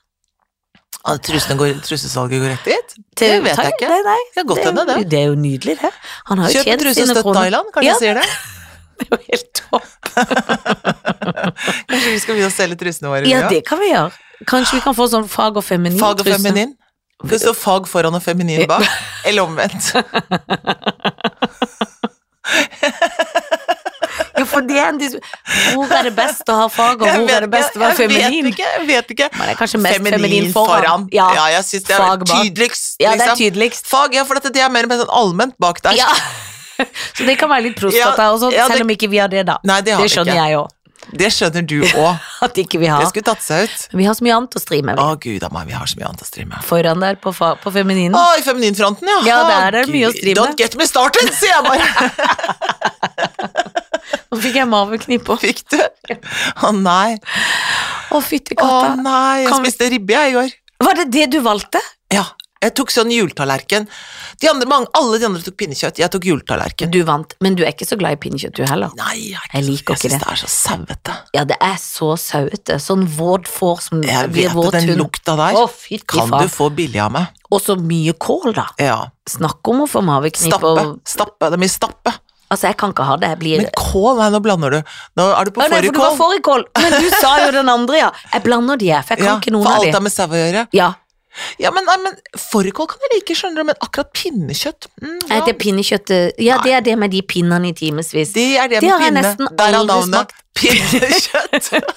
[SPEAKER 1] Ah, Trusene går, trusesalget går rett dit?
[SPEAKER 2] Til
[SPEAKER 1] Det vet jeg
[SPEAKER 2] Thailand?
[SPEAKER 1] ikke.
[SPEAKER 2] Nei, nei.
[SPEAKER 1] Det er godt
[SPEAKER 2] det,
[SPEAKER 1] hende,
[SPEAKER 2] er jo,
[SPEAKER 1] det.
[SPEAKER 2] det er jo nydelig, det. Han har jo
[SPEAKER 1] Kjøp en
[SPEAKER 2] tjent
[SPEAKER 1] truse og
[SPEAKER 2] sine
[SPEAKER 1] støtt
[SPEAKER 2] kroner.
[SPEAKER 1] Thailand, kanskje
[SPEAKER 2] Ja.
[SPEAKER 1] de sier det?
[SPEAKER 2] Det er jo helt topp.
[SPEAKER 1] Kanskje vi skal begynne å selge trusene våre?
[SPEAKER 2] Ja,
[SPEAKER 1] vi,
[SPEAKER 2] det kan vi gjøre. Kanskje vi kan få sånn fag og feminin
[SPEAKER 1] Fag og
[SPEAKER 2] truse.
[SPEAKER 1] feminin. Det står fag foran og feminin bak. Eller omvendt.
[SPEAKER 2] Ja, for det er en dis... Hvor er det best å ha fag, og
[SPEAKER 1] Jeg
[SPEAKER 2] hvor
[SPEAKER 1] vet
[SPEAKER 2] er det best å være
[SPEAKER 1] ikke, jeg
[SPEAKER 2] feminin?
[SPEAKER 1] Vet ikke, jeg vet ikke.
[SPEAKER 2] Man er kanskje mest feminin, foran.
[SPEAKER 1] Ja,
[SPEAKER 2] Ja.
[SPEAKER 1] jeg syns det er
[SPEAKER 2] Fag bak.
[SPEAKER 1] tydeligst.
[SPEAKER 2] Ja, det er
[SPEAKER 1] liksom.
[SPEAKER 2] tydeligst.
[SPEAKER 1] Fag, ja, for dette, det er mer med sånn allment bak der.
[SPEAKER 2] Ja. Så det kan være litt prostata
[SPEAKER 1] Ja,
[SPEAKER 2] og sånn,
[SPEAKER 1] ja, det-
[SPEAKER 2] selv om ikke vi har det, da.
[SPEAKER 1] Nei, det har
[SPEAKER 2] det
[SPEAKER 1] vi
[SPEAKER 2] skjønner
[SPEAKER 1] ikke.
[SPEAKER 2] jeg òg,
[SPEAKER 1] Det skjønner du òg.
[SPEAKER 2] at ikke vi
[SPEAKER 1] Det
[SPEAKER 2] har.
[SPEAKER 1] skulle tatt seg ut.
[SPEAKER 2] Vi har så mye annet å stri med.
[SPEAKER 1] Å,
[SPEAKER 2] vi.
[SPEAKER 1] gud a meg, vi har så mye annet å stri med.
[SPEAKER 2] Foran der på, fa- på femininen.
[SPEAKER 1] Å, i femininfronten, ja.
[SPEAKER 2] Ja,
[SPEAKER 1] Å,
[SPEAKER 2] der er det
[SPEAKER 1] gud.
[SPEAKER 2] mye å stri med.
[SPEAKER 1] Don't get me started, sier jeg bare.
[SPEAKER 2] Nå fikk jeg mavenknip òg.
[SPEAKER 1] Fikk du? Å nei.
[SPEAKER 2] Å, fytti
[SPEAKER 1] Å
[SPEAKER 2] katta.
[SPEAKER 1] nei, jeg
[SPEAKER 2] Kan vi-
[SPEAKER 1] spiste ribbe jeg i går.
[SPEAKER 2] Var det det du valgte?
[SPEAKER 1] Ja. Jeg tok sånn juletallerken. De andre, mange, alle de andre tok pinnekjøtt, jeg tok juletallerken.
[SPEAKER 2] Du vant, men du er ikke så glad i pinnekjøtt du heller.
[SPEAKER 1] Nei, jeg,
[SPEAKER 2] Jeg liker
[SPEAKER 1] jeg
[SPEAKER 2] ikke
[SPEAKER 1] syns
[SPEAKER 2] det.
[SPEAKER 1] det er så sauete.
[SPEAKER 2] Ja, det er så sauete. Sånn våt får som
[SPEAKER 1] Jeg
[SPEAKER 2] blir
[SPEAKER 1] vet at
[SPEAKER 2] våt
[SPEAKER 1] den
[SPEAKER 2] hund.
[SPEAKER 1] lukta der
[SPEAKER 2] Å, fytti
[SPEAKER 1] kan du
[SPEAKER 2] faen.
[SPEAKER 1] få billig av meg.
[SPEAKER 2] Og så mye kål, da.
[SPEAKER 1] Ja.
[SPEAKER 2] Snakk om å få maveknip
[SPEAKER 1] Stappe.
[SPEAKER 2] og
[SPEAKER 1] Stappe. Det er mye stappe.
[SPEAKER 2] Altså, jeg kan ikke ha det. Jeg blir
[SPEAKER 1] Men kål, nei, nå blander du. Nå er du på
[SPEAKER 2] Å, nei, for du var
[SPEAKER 1] fårikål.
[SPEAKER 2] fårikål. Men du sa jo den andre, ja. Jeg blander de, jeg, for jeg kan
[SPEAKER 1] Ja,
[SPEAKER 2] ikke noen
[SPEAKER 1] for
[SPEAKER 2] av
[SPEAKER 1] alt
[SPEAKER 2] de.
[SPEAKER 1] har med sau å gjøre.
[SPEAKER 2] Ja,
[SPEAKER 1] Ja, men, nei, men Fårikål kan jeg like, skjønner du, men akkurat pinnekjøtt mm,
[SPEAKER 2] Nei,
[SPEAKER 1] ja.
[SPEAKER 2] det pinnekjøttet Ja, det er det med de pinnene i timevis.
[SPEAKER 1] Det er det
[SPEAKER 2] det har
[SPEAKER 1] med
[SPEAKER 2] jeg
[SPEAKER 1] pinne.
[SPEAKER 2] nesten
[SPEAKER 1] Der er
[SPEAKER 2] aldri
[SPEAKER 1] navnet. Pinnekjøtt.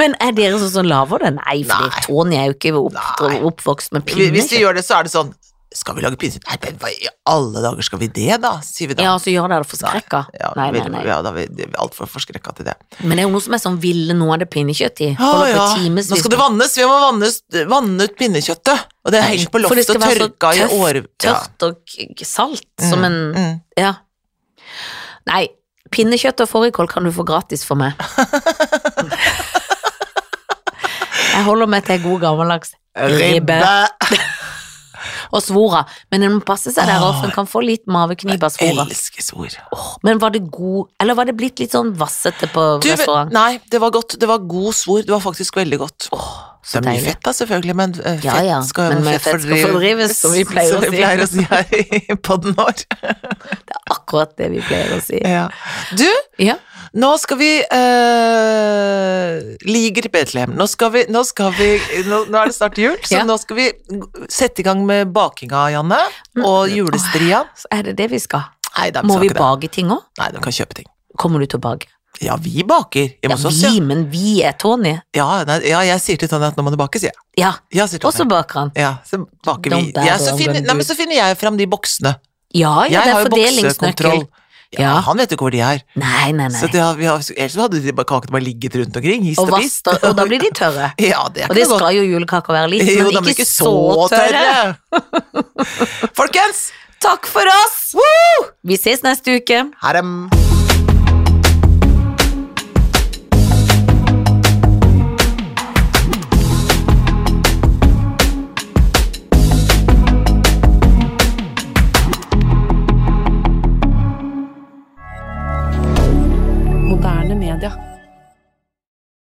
[SPEAKER 2] Men er dere sånn som laver det? Nei, for
[SPEAKER 1] Nei.
[SPEAKER 2] Tony er jo ikke oppdra-
[SPEAKER 1] Nei.
[SPEAKER 2] oppvokst med
[SPEAKER 1] Hvis vi
[SPEAKER 2] pinnekjøtt.
[SPEAKER 1] gjør det, så er det sånn Skal vi lage pinnekjøtt? Nei, men hva i alle dager skal vi det, da? Sier vi da.
[SPEAKER 2] Ja, så gjør dere det forskrekka.
[SPEAKER 1] Ja,
[SPEAKER 2] Nei, nei,
[SPEAKER 1] vi-
[SPEAKER 2] nei.
[SPEAKER 1] Ja, da er vi det er altfor forskrekka til det.
[SPEAKER 2] Men det er jo noe som er sånn ville noe av det pinnekjøttet i.
[SPEAKER 1] Å,
[SPEAKER 2] Holder på
[SPEAKER 1] ja.
[SPEAKER 2] timevis.
[SPEAKER 1] Nå skal det vannes, vi må vannes, vanne ut pinnekjøttet. Og det har hengt på
[SPEAKER 2] For det
[SPEAKER 1] loftet
[SPEAKER 2] skal
[SPEAKER 1] og
[SPEAKER 2] være så
[SPEAKER 1] tørka i
[SPEAKER 2] tøft-
[SPEAKER 1] åre... Ja.
[SPEAKER 2] Tørt og k- k- salt, som en
[SPEAKER 1] Mm.
[SPEAKER 2] Ja. Nei, pinnekjøtt og fårikål kan du få gratis for meg. Jeg holder meg til god gammeldags ribbe og svora, men en må passe seg der, for en kan få litt maveknip av svora.
[SPEAKER 1] Elsker svor.
[SPEAKER 2] Men var det god, eller var det blitt litt sånn vassete på
[SPEAKER 1] Du,
[SPEAKER 2] restaurant?
[SPEAKER 1] nei, det var godt. Det var god svor. Det var faktisk veldig godt. det
[SPEAKER 2] Så
[SPEAKER 1] er mye
[SPEAKER 2] deilig.
[SPEAKER 1] fett da, selvfølgelig, men eh, fett
[SPEAKER 2] Ja, ja,
[SPEAKER 1] skal,
[SPEAKER 2] men med fett skal fordrives, som vi pleier å
[SPEAKER 1] Som vi
[SPEAKER 2] si.
[SPEAKER 1] pleier å si her i podden vår.
[SPEAKER 2] Akkurat det vi pleier å si.
[SPEAKER 1] Ja. Du,
[SPEAKER 2] Ja.
[SPEAKER 1] nå skal vi uh, Liger i Betlehem. Nå skal vi, nå, skal vi nå, nå er det snart jul, så
[SPEAKER 2] Ja.
[SPEAKER 1] nå skal vi sette i gang med bakinga, Janne. Og julestria.
[SPEAKER 2] Så er det det vi skal.
[SPEAKER 1] Nei, da,
[SPEAKER 2] Mm.
[SPEAKER 1] skal
[SPEAKER 2] Må vi
[SPEAKER 1] ikke det.
[SPEAKER 2] bake ting òg?
[SPEAKER 1] Nei, du kan kjøpe ting.
[SPEAKER 2] Kommer du til å bake?
[SPEAKER 1] Ja, vi baker
[SPEAKER 2] Ja,
[SPEAKER 1] hjemme hos oss. Ja,
[SPEAKER 2] vi, men vi er Tony.
[SPEAKER 1] ja, nei, ja, jeg sier til Tonje at nå må du bake, sier jeg.
[SPEAKER 2] Ja,
[SPEAKER 1] Ja, sier
[SPEAKER 2] og
[SPEAKER 1] Tonje.
[SPEAKER 2] så baker han.
[SPEAKER 1] Ja, så baker vi.
[SPEAKER 2] Don't dare
[SPEAKER 1] Ja, så,
[SPEAKER 2] don't
[SPEAKER 1] finner,
[SPEAKER 2] go
[SPEAKER 1] nei, men så finner jeg fram de boksene.
[SPEAKER 2] Ah, Ja,
[SPEAKER 1] jeg
[SPEAKER 2] ja, det
[SPEAKER 1] har
[SPEAKER 2] er
[SPEAKER 1] jo boksekontroll.
[SPEAKER 2] fordelingsnøkkel.
[SPEAKER 1] Ja,
[SPEAKER 2] Ja.
[SPEAKER 1] Han vet jo ikke hvor de er.
[SPEAKER 2] Nei, nei,
[SPEAKER 1] Så
[SPEAKER 2] nei.
[SPEAKER 1] det har, vi har, ellers hadde de bare kakene bare ligget rundt omkring. Hist
[SPEAKER 2] Og
[SPEAKER 1] og pist.
[SPEAKER 2] vaster, og da blir de tørre.
[SPEAKER 1] Ja, det er
[SPEAKER 2] Og det
[SPEAKER 1] ikke noe godt.
[SPEAKER 2] skal jo julekaker være litt,
[SPEAKER 1] Jo, de
[SPEAKER 2] men
[SPEAKER 1] er
[SPEAKER 2] ikke så tørre.
[SPEAKER 1] Folkens,
[SPEAKER 2] Takk for oss! Vi ses neste uke.
[SPEAKER 1] ha dem.